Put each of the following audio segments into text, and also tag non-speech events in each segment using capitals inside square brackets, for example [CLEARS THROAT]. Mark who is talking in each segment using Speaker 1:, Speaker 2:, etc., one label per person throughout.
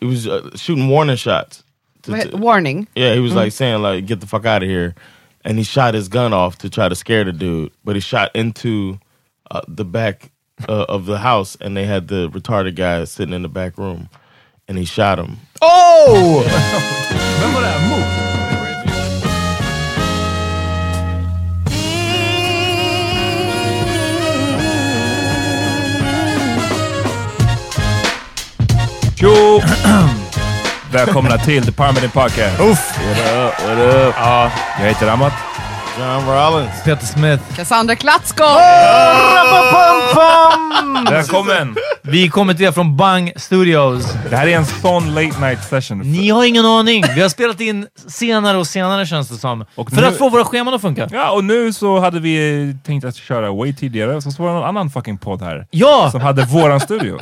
Speaker 1: he was uh, shooting warning shots. to-
Speaker 2: What-
Speaker 1: to-
Speaker 2: warning.
Speaker 1: yeah, he was like saying like get the fuck out of here, and he shot his gun off to try to scare the dude, but he shot into uh, the back uh, of the house, and they had the retarded guy sitting in the back room, and he shot him.
Speaker 2: Oh!
Speaker 3: remember that move.
Speaker 4: Tjo! Välkomna till The Parmity Podcast. Uff.
Speaker 1: What up? What up?
Speaker 4: Ja, jag heter Amat.
Speaker 1: John Rollins.
Speaker 4: Peter Smith.
Speaker 2: Cassandra Klatsko!
Speaker 4: Välkommen! Vi kommer till er från Bang Studios. Det här är en sån late night session. Ni har ingen aning. Vi har spelat in senare och senare känns det som. för att få våra scheman att funka. Ja, och nu så hade vi eh, tänkt att köra way tidigare, så så var det någon annan fucking podd här. Ja! Ah, Som hade våran studio.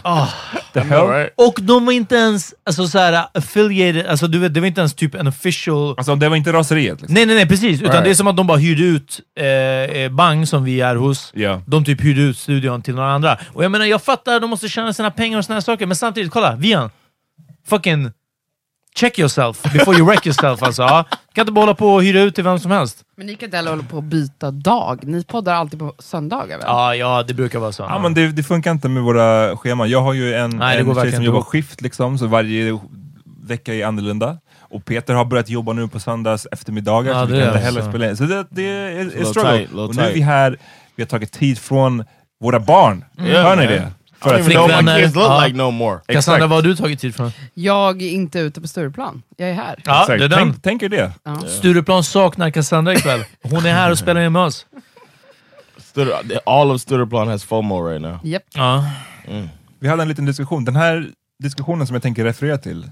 Speaker 4: The hell? Och de var inte ens alltså, så här, affiliated. Alltså, du vet, det var inte ens typ en official... Alltså det var inte raseriet? Liksom. Nej, nej, nej, precis. Utan det är som att de bara hyrde ut eh, eh, Bang, som vi är hos. De typ hyrde ut studion till några andra. Och jag menar, jag fattar, de måste tjäna sina pengar och såna här saker, men samtidigt, kolla, Vian. Fucking check yourself before you
Speaker 5: [LAUGHS]
Speaker 4: wreck yourself alltså. Ja. Kan inte bara hålla på och hyra ut till vem som helst.
Speaker 2: Men ni kan inte heller hålla på att byta dag. Ni poddar alltid på söndagar väl?
Speaker 4: Ja, ja, det brukar vara så.
Speaker 5: Ja, men det, det funkar inte med våra scheman. Jag har ju en,
Speaker 4: Nej, det går
Speaker 5: en tjej
Speaker 4: verkligen
Speaker 5: som
Speaker 4: inte
Speaker 5: jobbar
Speaker 4: ihop.
Speaker 5: skift, liksom, så varje vecka är annorlunda. Och Peter har börjat jobba nu på söndags eftermiddagar,
Speaker 4: Ja,
Speaker 5: så vi
Speaker 4: det
Speaker 5: kan
Speaker 4: är alltså-
Speaker 5: inte heller
Speaker 4: så.
Speaker 5: spela in. Så det, det är
Speaker 1: Så
Speaker 5: en
Speaker 1: low
Speaker 5: struggle.
Speaker 1: tight, low
Speaker 5: och nu är vi
Speaker 1: tight.
Speaker 5: här, vi har tagit tid från våra barn.
Speaker 4: Mm.
Speaker 5: Hör ni det?
Speaker 1: I don't even know what my kids look like no more.
Speaker 6: Uh,
Speaker 4: Cassandra, vad har du tagit tid från?
Speaker 2: Jag är inte ute på Stureplan. Jag är här.
Speaker 4: Ja,
Speaker 5: Exakt.
Speaker 4: det är den.
Speaker 5: Tänk, tänk er det.
Speaker 4: Stureplan saknar Cassandra ikväll. Hon är här och spelar in med oss.
Speaker 1: Stur- all of Stureplan has FOMO right now.
Speaker 2: Japp.
Speaker 4: Ja.
Speaker 5: Vi
Speaker 6: Vi hade en liten diskussion. Den här diskussionen som jag tänker referera till,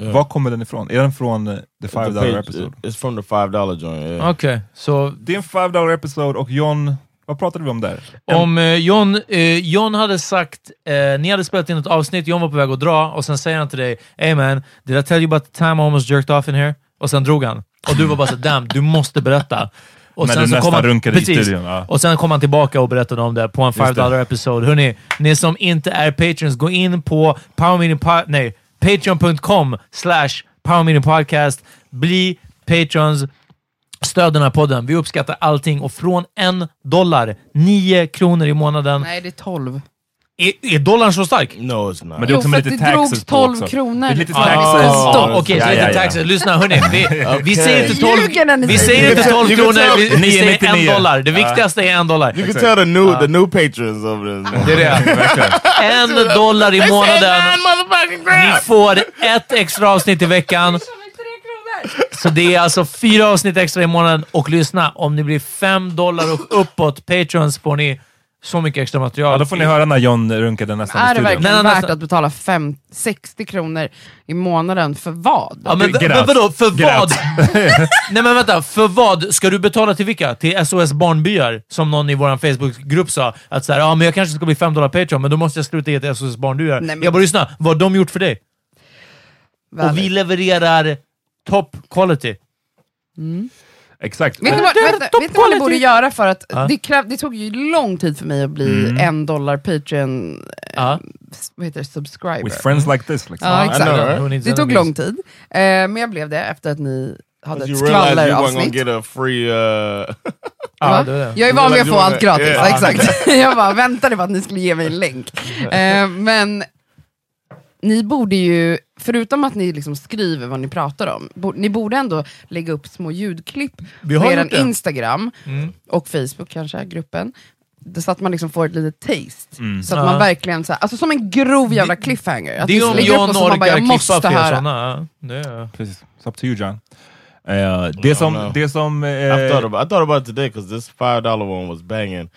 Speaker 6: var kommer den ifrån? Är den från eh, the five
Speaker 1: The
Speaker 6: dollar
Speaker 1: page-
Speaker 6: episode?
Speaker 1: It's from the five dollar joint. yeah.
Speaker 4: Okej, så
Speaker 6: Det är en five dollar episode och John, vad pratade vi om där?
Speaker 4: om eh, John, eh, John hade sagt... Eh, ni hade spelat in ett avsnitt, John var på väg att dra, och sen säger han till dig Hey man, did I tell you about the time I almost jerked off in here? Och sen drog han. Och du var bara så damn, du måste berätta. Och
Speaker 6: När du nästan
Speaker 4: han-
Speaker 6: runkade i
Speaker 4: precis.
Speaker 6: studion, ja.
Speaker 4: Och sen kom han tillbaka och berättade om det på en
Speaker 6: det.
Speaker 4: 5 dollar episode. Hörrni, ni som inte är patrons, gå in på powermeeting po- nej, patreon.com slash powermeetingpodcast. Bli patrons. Stöd den här podden. Vi uppskattar allting. Och från en dollar, nio kronor i månaden.
Speaker 2: Nej, det är 12.
Speaker 4: Är, är dollarn så stark?
Speaker 1: No, it's not.
Speaker 6: Men
Speaker 2: Jo, för att det drogs 12
Speaker 6: också.
Speaker 2: kronor.
Speaker 6: Det är lite
Speaker 2: Ja,
Speaker 6: taxes.
Speaker 4: Stopp! Okej, så
Speaker 6: Ja,
Speaker 4: lite
Speaker 6: ja, ja.
Speaker 4: taxes. Lyssna hörni,
Speaker 6: [LAUGHS]
Speaker 4: vi, vi säger inte 12,
Speaker 2: Ljuger när ni
Speaker 4: vi
Speaker 2: säger
Speaker 4: säger inte 12
Speaker 6: You can
Speaker 4: kronor, vi, vi säger
Speaker 6: 9,99.
Speaker 4: en dollar. Det viktigaste är en dollar.
Speaker 1: You can tell the new
Speaker 6: uh,
Speaker 1: the new patrons of this. Man.
Speaker 4: Det är
Speaker 1: [LAUGHS]
Speaker 4: det. En dollar i månaden. Ni får ett extra avsnitt i veckan. Så det är alltså fyra avsnitt extra i månaden. Och lyssna, om ni blir fem dollar och uppåt patrons får ni så mycket extra material.
Speaker 6: Ja, då får ni höra när John runkade nästan i
Speaker 2: Är det
Speaker 6: studion.
Speaker 2: verkligen
Speaker 4: Nej, nej,
Speaker 2: värt
Speaker 4: nej.
Speaker 2: att betala fem, 60 kronor i månaden för vad?
Speaker 4: Ja, men,
Speaker 6: Grät.
Speaker 4: men vadå, för
Speaker 6: Grät. [LAUGHS]
Speaker 4: vad? Nej men vänta, för vad ska du betala till vilka? Till SOS Barnbyar? Som någon i vår Facebookgrupp sa, att så här, ja men jag kanske ska bli 5 dollar Patreon, men då måste jag sluta ge till SOS Barnbyar.
Speaker 2: Nej, men-
Speaker 4: Jag bara, lyssna, vad har de gjort för dig? Och vi
Speaker 2: Väldigt.
Speaker 4: levererar top quality.
Speaker 6: Exakt.
Speaker 2: Vet ni vad,
Speaker 4: är
Speaker 2: vänta,
Speaker 4: top
Speaker 2: vet ni vad ni
Speaker 4: quality.
Speaker 2: borde göra för att
Speaker 4: Ja. Mm.
Speaker 2: det, kräv, det tog ju lång tid för mig att bli en dollar Patreon
Speaker 4: Ja.
Speaker 2: s- vad heter det, subscriber.
Speaker 6: With friends like this. Liksom.
Speaker 2: ja, exakt.
Speaker 1: know, right?
Speaker 4: Who needs
Speaker 2: Det tog
Speaker 4: enemies?
Speaker 2: lång tid, eh, men jag blev det efter att ni hade
Speaker 1: You
Speaker 2: ett
Speaker 1: realize you weren't gonna
Speaker 2: skvaller-avsnitt.
Speaker 1: get a free. Uh, [LAUGHS]
Speaker 4: Ja, det var det.
Speaker 2: Jag är van vid att
Speaker 1: You
Speaker 2: få
Speaker 1: wanna-
Speaker 2: allt gratis,
Speaker 1: yeah.
Speaker 2: exakt. [LAUGHS] Jag bara väntade på att ni skulle ge mig en
Speaker 4: [LAUGHS]
Speaker 2: länk. Eh, men ni borde ju, förutom att ni liksom skriver vad ni pratar om, bo, ni borde ändå lägga upp små ljudklipp
Speaker 4: Vi
Speaker 2: på
Speaker 4: har
Speaker 2: er
Speaker 4: gjort det. Mm.
Speaker 2: Instagram och Facebook kanske, gruppen. Det- Så att man liksom får ett litet taste.
Speaker 6: Mm.
Speaker 2: Så att
Speaker 4: Ja.
Speaker 2: man verkligen, så här, alltså som en grov jävla cliffhanger. Att
Speaker 4: Det är
Speaker 2: ni
Speaker 4: om
Speaker 2: lägger upp
Speaker 4: John
Speaker 2: något som man bara,
Speaker 4: orkar
Speaker 2: jag
Speaker 4: klippa
Speaker 2: måste
Speaker 4: fler
Speaker 2: höra.
Speaker 4: sådana. Ja, det är-
Speaker 6: Precis. It's up to you John. Eh, det, som,
Speaker 1: no.
Speaker 6: det som...
Speaker 1: I
Speaker 6: eh,
Speaker 1: thought about I thought about it today because this five dollar one was banging,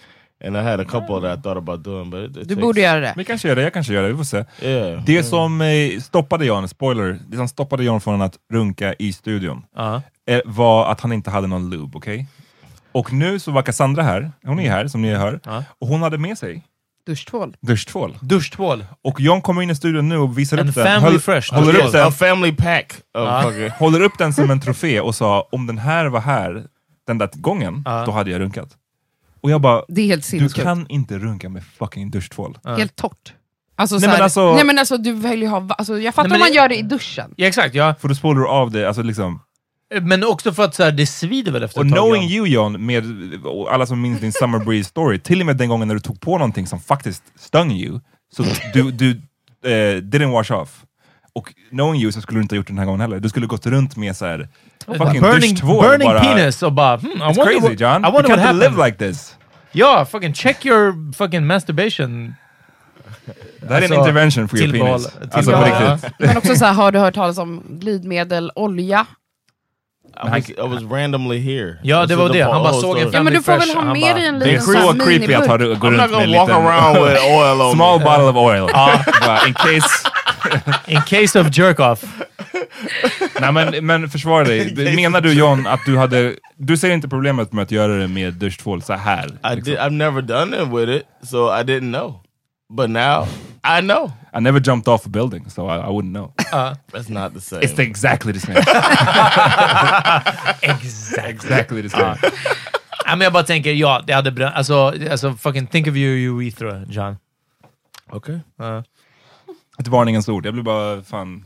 Speaker 1: and I had a couple that I thought about doing, but it, it
Speaker 2: Du
Speaker 1: takes-
Speaker 2: borde göra det.
Speaker 6: vi kanske gör det, jag kanske gör det, vi får se.
Speaker 1: Yeah.
Speaker 6: Det som eh, stoppade John, spoiler, det som stoppade John från att runka i studion
Speaker 4: ja.
Speaker 6: eh, var att han inte hade någon lube, okej? Och nu så var Cassandra här, hon är här som ni hör,
Speaker 4: Ja.
Speaker 6: och hon hade med sig
Speaker 2: Duschtvål.
Speaker 6: duschtvål.
Speaker 4: Duschtvål.
Speaker 6: Och John kommer in i studion nu och visar
Speaker 4: En
Speaker 6: upp den,
Speaker 4: family fresh
Speaker 6: håller, upp
Speaker 1: Yes, a
Speaker 6: den
Speaker 1: family pack of fucking.
Speaker 6: håller upp den som en trofé och sa om den här var här den där gången, då hade jag runkat. Och jag bara,
Speaker 2: Det är helt
Speaker 6: du
Speaker 2: sinnessjukt.
Speaker 6: kan inte runka med fucking duschtvål.
Speaker 2: Helt torrt. Alltså,
Speaker 6: Nej,
Speaker 2: så här,
Speaker 6: men alltså-
Speaker 2: nej men alltså, du vill ju ha, va- alltså, jag fattar
Speaker 4: Nej, men
Speaker 2: om man
Speaker 4: det-
Speaker 2: gör det i duschen.
Speaker 4: Ja, exakt, ja. Eh,
Speaker 6: För då spolar du av det, alltså liksom
Speaker 4: Men också för att så här, det svider väl efter
Speaker 6: Och
Speaker 4: ett tag.
Speaker 6: knowing
Speaker 4: John?
Speaker 6: you John, med och alla som minns din Summer Breeze story, till och med den gången när du tog på någonting som faktiskt stung you, så du, du eh, didn't wash off. Och knowing you så skulle du inte ha gjort det den här gången heller. Du skulle gått runt med så här, fucking
Speaker 4: burning,
Speaker 6: duschtvål
Speaker 4: burning
Speaker 6: bara.
Speaker 4: penis och bara hmm, I
Speaker 6: It's
Speaker 4: wonder
Speaker 6: crazy
Speaker 4: what,
Speaker 6: John,
Speaker 4: I
Speaker 6: you
Speaker 4: wonder what
Speaker 6: can't
Speaker 4: happened.
Speaker 6: live like this.
Speaker 4: Ja, fucking check your fucking masturbation.
Speaker 6: Det här är en
Speaker 4: Alltså,
Speaker 6: intervention for your
Speaker 4: tillval-
Speaker 6: penis. Alltså på
Speaker 4: tillval, ja.
Speaker 6: riktigt.
Speaker 2: Men också så här, har du hört talas om glidmedel, olja?
Speaker 1: I was, I was randomly here.
Speaker 4: Ja, det
Speaker 1: This
Speaker 4: var
Speaker 1: is
Speaker 4: det.
Speaker 1: the
Speaker 4: Han bara
Speaker 1: whole
Speaker 4: såg
Speaker 1: story.
Speaker 4: en
Speaker 2: Ja men
Speaker 4: Family
Speaker 2: du får väl
Speaker 4: Fresh,
Speaker 2: ha
Speaker 4: han
Speaker 2: med
Speaker 4: bara-
Speaker 2: dig en
Speaker 6: Det
Speaker 2: liten
Speaker 6: är
Speaker 2: sån här
Speaker 6: så creepy att ha,
Speaker 2: miniburk.
Speaker 6: gå runt
Speaker 1: I'm
Speaker 6: med
Speaker 1: not
Speaker 6: en
Speaker 1: gonna walk around
Speaker 6: liten
Speaker 1: [LAUGHS] with oil
Speaker 6: [LAUGHS]
Speaker 1: on
Speaker 6: small
Speaker 1: me.
Speaker 6: bottle of oil. Bara in case.
Speaker 4: [LAUGHS] In case of jerk off.
Speaker 6: [LAUGHS] Nej men, men försvara dig. Menar du John att du hade... Du ser inte problemet med att göra det med duschtvål så här?
Speaker 1: I did, I've never done it with it, so I didn't know. But now I know.
Speaker 6: I never jumped off a building, so I, I wouldn't know.
Speaker 1: That's not the same.
Speaker 6: It's the, exactly the
Speaker 4: [LAUGHS]
Speaker 6: same.
Speaker 4: Exakt.
Speaker 6: exactly the same.
Speaker 4: Ja, men jag bara tänker, ja, det hade bränt. Alltså, alltså, fucking think of you, you urethra, John.
Speaker 1: okay.
Speaker 6: Ett varningens ord. Jag blir bara fan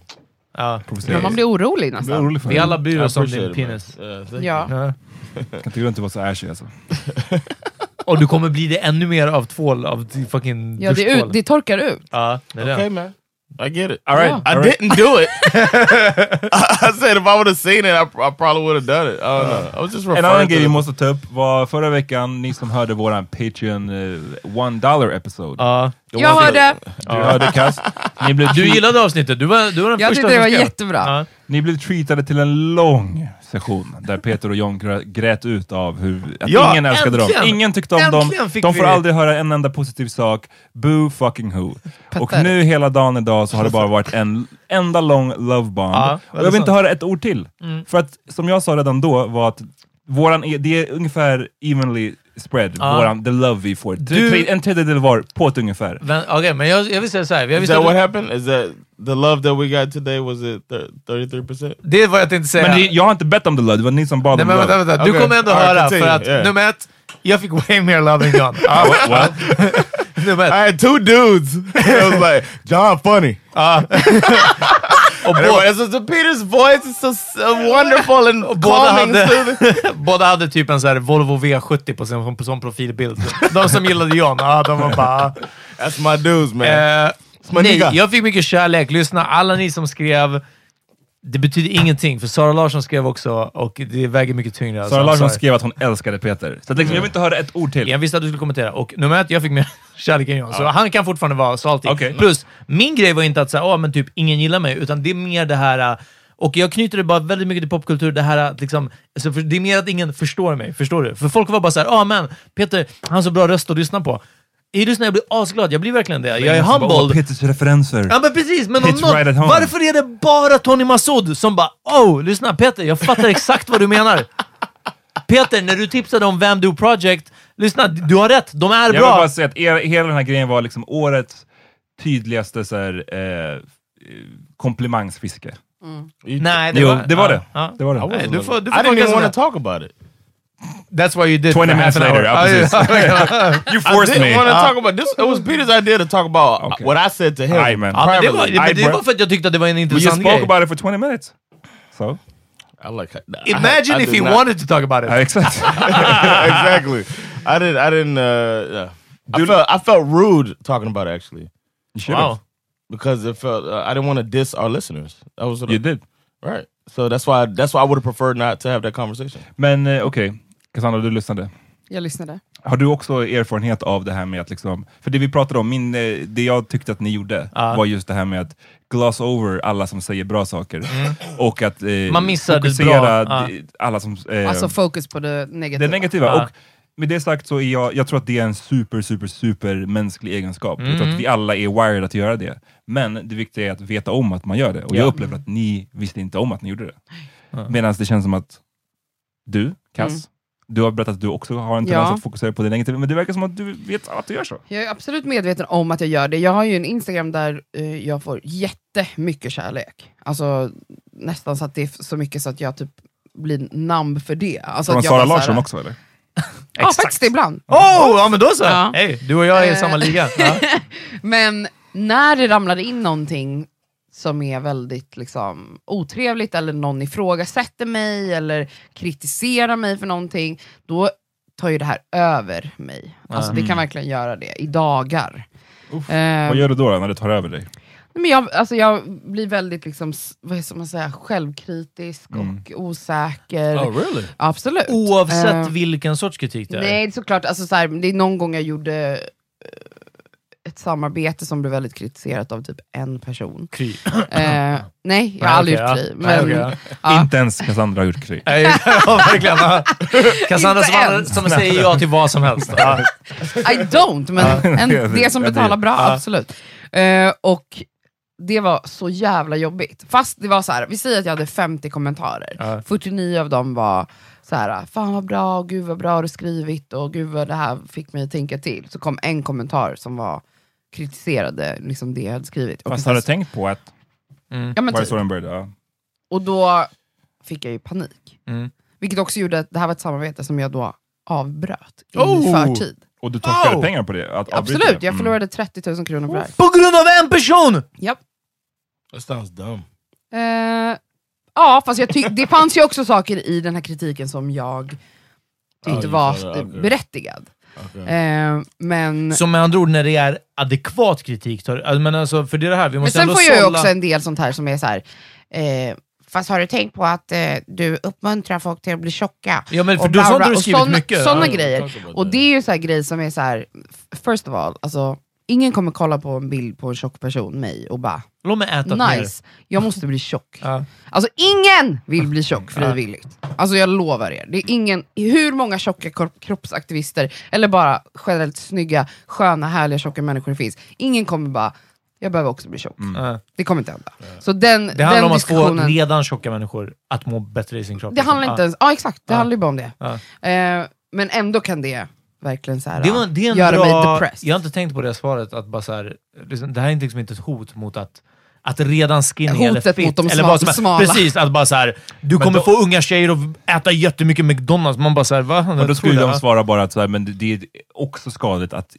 Speaker 4: Ja.
Speaker 6: provocerad.
Speaker 2: Men man blir orolig
Speaker 6: Jag blir
Speaker 2: nästan.
Speaker 6: orolig för
Speaker 4: Vi alla
Speaker 6: dig.
Speaker 4: bryr
Speaker 1: I
Speaker 4: oss om
Speaker 1: appreciate
Speaker 4: din
Speaker 1: it, man.
Speaker 4: penis.
Speaker 1: Uh, thank you.
Speaker 2: Ja.
Speaker 4: Ja.
Speaker 6: Jag kan tycka du inte vara så ashy alltså.
Speaker 4: Och du kommer bli det ännu mer av tvål, av t- fucking
Speaker 2: Ja, det,
Speaker 4: duschtvål.
Speaker 2: ut, det torkar ut.
Speaker 4: Ja, det är det.
Speaker 1: Okay, man. I get it.
Speaker 6: All right.
Speaker 2: Yeah.
Speaker 1: I
Speaker 6: all right.
Speaker 1: didn't do
Speaker 6: [LAUGHS]
Speaker 1: it. [LAUGHS] I, I said if I would have seen it, I, pr- I probably would have done it. I don't know. Uh, I was just
Speaker 6: En annan
Speaker 1: referring
Speaker 6: grej
Speaker 1: to
Speaker 6: vi
Speaker 1: the-
Speaker 6: måste ta upp var förra veckan, ni som hörde våran Patreon eh, One dollar episode.
Speaker 4: Ja.
Speaker 2: Jag hörde,
Speaker 6: Du hörde Kast.
Speaker 4: [LAUGHS] Ni blev, du gillade avsnittet. Du var, du var den
Speaker 2: jag
Speaker 4: första
Speaker 2: tyckte det
Speaker 4: som
Speaker 2: var
Speaker 4: skrev.
Speaker 2: jättebra.
Speaker 4: Ja.
Speaker 6: Ni blev treatade till en lång session där Peter och John grä- grät ut av hur, att
Speaker 1: Ja,
Speaker 6: ingen älskade dem.
Speaker 4: äntligen!
Speaker 6: Ingen tyckte om
Speaker 4: Äntligen
Speaker 6: dem.
Speaker 4: fick
Speaker 6: De
Speaker 4: vi
Speaker 6: får
Speaker 4: det.
Speaker 6: aldrig höra en enda positiv sak. Boo fucking who. Och
Speaker 2: Pathetic.
Speaker 6: nu hela dagen idag så har det
Speaker 4: [LAUGHS]
Speaker 6: bara varit en enda lång love bomb.
Speaker 4: Ja, Mm.
Speaker 6: och
Speaker 4: det
Speaker 6: jag
Speaker 4: är
Speaker 6: vill inte
Speaker 4: sant.
Speaker 6: höra ett ord till. För att, som jag sa redan då, var att våran, e- det är ungefär evenly spread,
Speaker 4: Ja.
Speaker 6: våran, the love vi får.
Speaker 4: Du-
Speaker 6: Tre- En tredjedel var, på ett ungefär.
Speaker 4: Men, okej, men jag, jag vill säga så här. Jag
Speaker 1: Is
Speaker 4: visste
Speaker 1: that
Speaker 4: att-
Speaker 1: what happened? Is that the love that we got today was it thirty three percent?
Speaker 4: det var jag tänkte säga.
Speaker 6: Men det, jag har inte bett om the love, det var ni som bad
Speaker 4: Nej,
Speaker 6: om
Speaker 4: men vänta,
Speaker 6: love.
Speaker 4: vänta. Du
Speaker 1: Okej.
Speaker 4: kommer ändå
Speaker 1: All right,
Speaker 4: höra, för
Speaker 1: continue.
Speaker 4: att
Speaker 1: Yeah.
Speaker 4: nummer ett, jag fick way mer love än
Speaker 2: [LAUGHS]
Speaker 4: John.
Speaker 1: Oh,
Speaker 4: Ja,
Speaker 1: [LAUGHS]
Speaker 4: nummer ett.
Speaker 1: I had two dudes. [LAUGHS] it was like John funny.
Speaker 4: Och
Speaker 1: And
Speaker 4: båda,
Speaker 1: everybody says, "So alltså, Peter's voice is so, so wonderful and
Speaker 4: båda,
Speaker 1: calming."
Speaker 4: hade, [LAUGHS] båda hade typ en så här Volvo V70 på sin på som profilbild. De som gillade John, ja, de var bara...
Speaker 1: That's my dudes, man.
Speaker 4: Eh,
Speaker 1: my
Speaker 4: nej,
Speaker 1: nigga.
Speaker 4: jag fick mycket kärlek. Lyssna, alla ni som skrev, det betyder ingenting. För Sara Larsson skrev också, och det väger mycket tyngre. alltså.
Speaker 6: Sara
Speaker 4: I'm
Speaker 6: Larsson
Speaker 4: sorry.
Speaker 6: skrev att hon älskade Peter. Så att liksom, jag vill inte höra ett ord till.
Speaker 4: Jag visste att du skulle kommentera. Och nummer ett, jag fick mer [LAUGHS] kärlek än John. Så han kan fortfarande vara salty.
Speaker 6: Okej.
Speaker 4: Plus, min grej var inte att säga, oh, men typ ingen gillar mig, utan det är mer det här... äh, Och jag knyter det bara väldigt mycket till popkultur, det här att liksom, alltså för, det är mer att ingen förstår mig. Förstår du? För folk var bara så här, ja men Peter, han har så bra röst att lyssna på. Jag lyssnar, jag blir asglad. Jag blir verkligen det. Jag är
Speaker 6: Bara, åh,
Speaker 4: humbled.
Speaker 6: Peters referenser.
Speaker 4: Ja men precis, men om
Speaker 6: It's
Speaker 4: någon,
Speaker 6: right at home.
Speaker 4: varför är det bara Tony Massoud som bara “Oh, lyssna Peter, jag fattar exakt vad du menar”? Peter, när du tipsade om Vem Do Project, lyssna, du har rätt, de är
Speaker 6: jag vill
Speaker 4: bra.
Speaker 6: bara säga att er, hela den här grejen var liksom årets tydligaste så här, eh, eh, komplimangsfiske.
Speaker 4: Nej,
Speaker 6: Jo, det var det.
Speaker 4: ja.
Speaker 6: Det var det.
Speaker 4: Nej, du får, du får
Speaker 1: I didn't
Speaker 4: fucka
Speaker 1: even want
Speaker 4: sådär.
Speaker 1: to talk about it.
Speaker 4: That's why you
Speaker 6: 20
Speaker 4: did for
Speaker 6: minutes
Speaker 4: half an
Speaker 6: later,
Speaker 4: hour. Oh, Ah.
Speaker 6: ja, precis. [LAUGHS] you
Speaker 1: I
Speaker 6: forced
Speaker 1: didn't
Speaker 6: me.
Speaker 1: want to talk about this. It was Peter's idea to talk about
Speaker 6: Okay.
Speaker 1: what I said to him.
Speaker 6: Aye, man.
Speaker 4: Ja, men det,
Speaker 1: privately.
Speaker 4: var, men det
Speaker 6: I-
Speaker 4: var för att jag tyckte att det var en
Speaker 6: We just
Speaker 4: intressant
Speaker 6: spoke
Speaker 4: grej.
Speaker 6: about it for 20 minutes. So.
Speaker 1: I like. I- I-
Speaker 4: Imagine
Speaker 1: I
Speaker 4: if
Speaker 1: did
Speaker 4: he
Speaker 1: not-
Speaker 4: wanted to talk about it.
Speaker 6: Ja, [LAUGHS] exakt.
Speaker 1: [LAUGHS] exactly. I didn't. I didn't. Uh, yeah. I felt. I felt rude talking about it actually
Speaker 6: You should
Speaker 4: Wow.
Speaker 6: have.
Speaker 1: because it felt. Uh, I didn't want to diss our listeners. That was what I-
Speaker 6: You did.
Speaker 1: right. So that's why. That's why I would have preferred not to have that conversation.
Speaker 6: Men eh, okej, Cassandra, du lyssnade.
Speaker 2: jag lyssnade.
Speaker 6: Har du också erfarenhet av det här med att liksom, för det vi pratade om, min, eh, det jag tyckte att ni gjorde var just det här med att gloss over alla som säger bra saker och att eh,
Speaker 4: Mm. Man missar det
Speaker 6: fokusera
Speaker 4: bra,
Speaker 6: d- alla som... Eh,
Speaker 2: Alltså fokus på det negativa.
Speaker 6: det negativa.
Speaker 4: Ja.
Speaker 6: Och med det sagt så är jag, jag tror att det är en super, super, super mänsklig egenskap. Jag
Speaker 2: Mm.
Speaker 6: tror att vi alla är wired att göra det. Men det viktiga är att veta om att man gör det. Och jag upplever att ni visste inte om att ni gjorde det. Medan det känns som att du, Kass,
Speaker 2: Mm.
Speaker 6: du har berättat att du också har en tendens
Speaker 2: Ja.
Speaker 6: att fokusera på det negativa, men det verkar som att du vet att du gör så.
Speaker 2: Jag är absolut medveten om att jag gör det. Jag har ju en Instagram där eh, jag får jättemycket kärlek. Alltså nästan så att det är så mycket så att jag typ blir namn för det. Alltså,
Speaker 6: Från
Speaker 2: att jag
Speaker 6: Sara
Speaker 2: bara så här-
Speaker 6: Larsson också eller?
Speaker 2: Ja, faktiskt ibland.
Speaker 4: Oh, ja men då så!
Speaker 2: Ja.
Speaker 4: Hej, du och jag är i
Speaker 2: Eh. [LAUGHS]
Speaker 4: samma liga. Ja.
Speaker 2: Men när det ramlar in någonting som är väldigt liksom, otrevligt, eller någon ifrågasätter mig, eller kritiserar mig för någonting, då tar ju det här över mig. Alltså, det kan verkligen göra det, i dagar. Eh,
Speaker 6: Vad gör du då, då när det tar över dig?
Speaker 2: Nej, Men jag, alltså jag blir väldigt liksom, s- vad ska man säga, självkritisk och osäker.
Speaker 1: really?
Speaker 2: Absolut.
Speaker 4: Oh, Oavsett
Speaker 2: oh, Eh,
Speaker 4: vilken sorts kritik det är.
Speaker 2: Nej, det är såklart. Alltså, så här, det är någon gång jag gjorde eh, ett samarbete som blev väldigt kritiserat av typ en person.
Speaker 4: Kry.
Speaker 2: Eh, nej, jag
Speaker 4: Nej,
Speaker 2: har aldrig
Speaker 4: okej,
Speaker 2: gjort
Speaker 4: ja.
Speaker 2: krig.
Speaker 4: Nej,
Speaker 2: Men,
Speaker 4: okej, ja.
Speaker 2: ja. Eh,
Speaker 6: Inte ens Cassandra har gjort krig.
Speaker 4: Nej, ja, verkligen. Ja. Cassandra
Speaker 2: Inte
Speaker 4: som,
Speaker 2: än.
Speaker 4: som säger ja till vad som helst. Ja.
Speaker 2: I don't, men en, det som
Speaker 6: Jag
Speaker 2: betalar
Speaker 6: vet.
Speaker 2: bra, absolut. Eh, och det var så jävla jobbigt. Fast det var så här, vi säger att jag hade 50 kommentarer, 49 av dem var så här, fan vad bra, och gud vad bra har du skrivit, och gud vad det här fick mig att tänka till. Så kom en kommentar som var kritiserade liksom det jag hade skrivit. Och
Speaker 6: Fast
Speaker 2: sen-
Speaker 6: har du tänkt på att...
Speaker 2: ja, men
Speaker 6: Var det
Speaker 2: typ.
Speaker 6: så den började? Ja.
Speaker 2: Och då fick jag ju panik.
Speaker 4: Mm.
Speaker 2: Vilket också gjorde att det här var ett samarbete som jag då avbröt i
Speaker 6: Oh!
Speaker 2: förtid.
Speaker 6: Och du torskade
Speaker 4: Oh!
Speaker 6: pengar på det? Att avbryta
Speaker 2: Absolut,
Speaker 6: det.
Speaker 2: jag
Speaker 6: Mm.
Speaker 2: förlorade 30 000 kronor på det här.
Speaker 4: På grund av en person!
Speaker 2: Japp.
Speaker 1: That sounds
Speaker 6: Mm.
Speaker 1: dumb.
Speaker 2: Eh, ja, fast jag ty- det fanns ju också saker i den här kritiken som jag tyckte
Speaker 1: Ja,
Speaker 2: var
Speaker 1: just det,
Speaker 2: eh,
Speaker 1: okej.
Speaker 2: berättigad.
Speaker 1: Okay.
Speaker 2: Eh, men
Speaker 4: Så med andra ord, när det är adekvat kritik, tar, alltså, men alltså, för det är det här, vi
Speaker 2: men
Speaker 4: måste
Speaker 2: sen
Speaker 4: ändå
Speaker 2: får jag ju
Speaker 4: sålla-
Speaker 2: också en del sånt här som är så här. Eh, Fast har du tänkt på att eh, du uppmuntrar folk till att bli tjocka?
Speaker 4: Ja, men för
Speaker 2: Och
Speaker 4: då- sånt har
Speaker 2: bla, bla,
Speaker 4: du
Speaker 2: och
Speaker 4: skrivit
Speaker 2: såna,
Speaker 4: mycket.
Speaker 2: Sådana
Speaker 4: Ja,
Speaker 2: grejer.
Speaker 1: talk about
Speaker 2: Och
Speaker 1: that.
Speaker 2: det är ju så här grejer som är så här, f- first of all, alltså, Ingen kommer kolla på en bild på en tjock person, mig, och bara
Speaker 4: Låt mig äta mer.
Speaker 2: nice, jag måste bli tjock.
Speaker 4: Ja.
Speaker 2: Alltså ingen vill bli tjock frivilligt. Alltså jag lovar er. Det är ingen, hur många tjocka kor- kroppsaktivister, eller bara generellt snygga, sköna, härliga, tjocka människor det finns. Ingen kommer bara, jag behöver också bli tjock.
Speaker 4: Ja.
Speaker 2: Det kommer inte hända. Så den,
Speaker 4: Det handlar
Speaker 2: den
Speaker 4: om att få
Speaker 2: diskussionen...
Speaker 4: redan tjocka människor att må bättre i sin kropp.
Speaker 2: det handlar
Speaker 4: liksom.
Speaker 2: inte ens... Ja exakt, det
Speaker 4: Ja.
Speaker 2: handlar ju bara om det.
Speaker 4: Ja.
Speaker 2: Eh, men ändå kan det verkligen så här,
Speaker 4: Ah. Det, var, det är en
Speaker 2: göra mig
Speaker 4: bra...
Speaker 2: depressed.
Speaker 4: Jag har inte tänkt på det svaret, att bara så här, liksom, det här är liksom inte ett hot mot att att redan skinny
Speaker 2: Hotet
Speaker 4: eller fit,
Speaker 2: mot de
Speaker 4: eller
Speaker 2: sma-
Speaker 4: vad som helst.
Speaker 2: smala.
Speaker 4: Precis, att bara så här, du kommer
Speaker 6: då-
Speaker 4: få unga tjejer att äta jättemycket McDonalds. Man bara såhär, va?
Speaker 6: Men då
Speaker 4: Jag
Speaker 6: skulle
Speaker 4: trodde-
Speaker 6: de svara bara att så här, men det- det är också skadligt att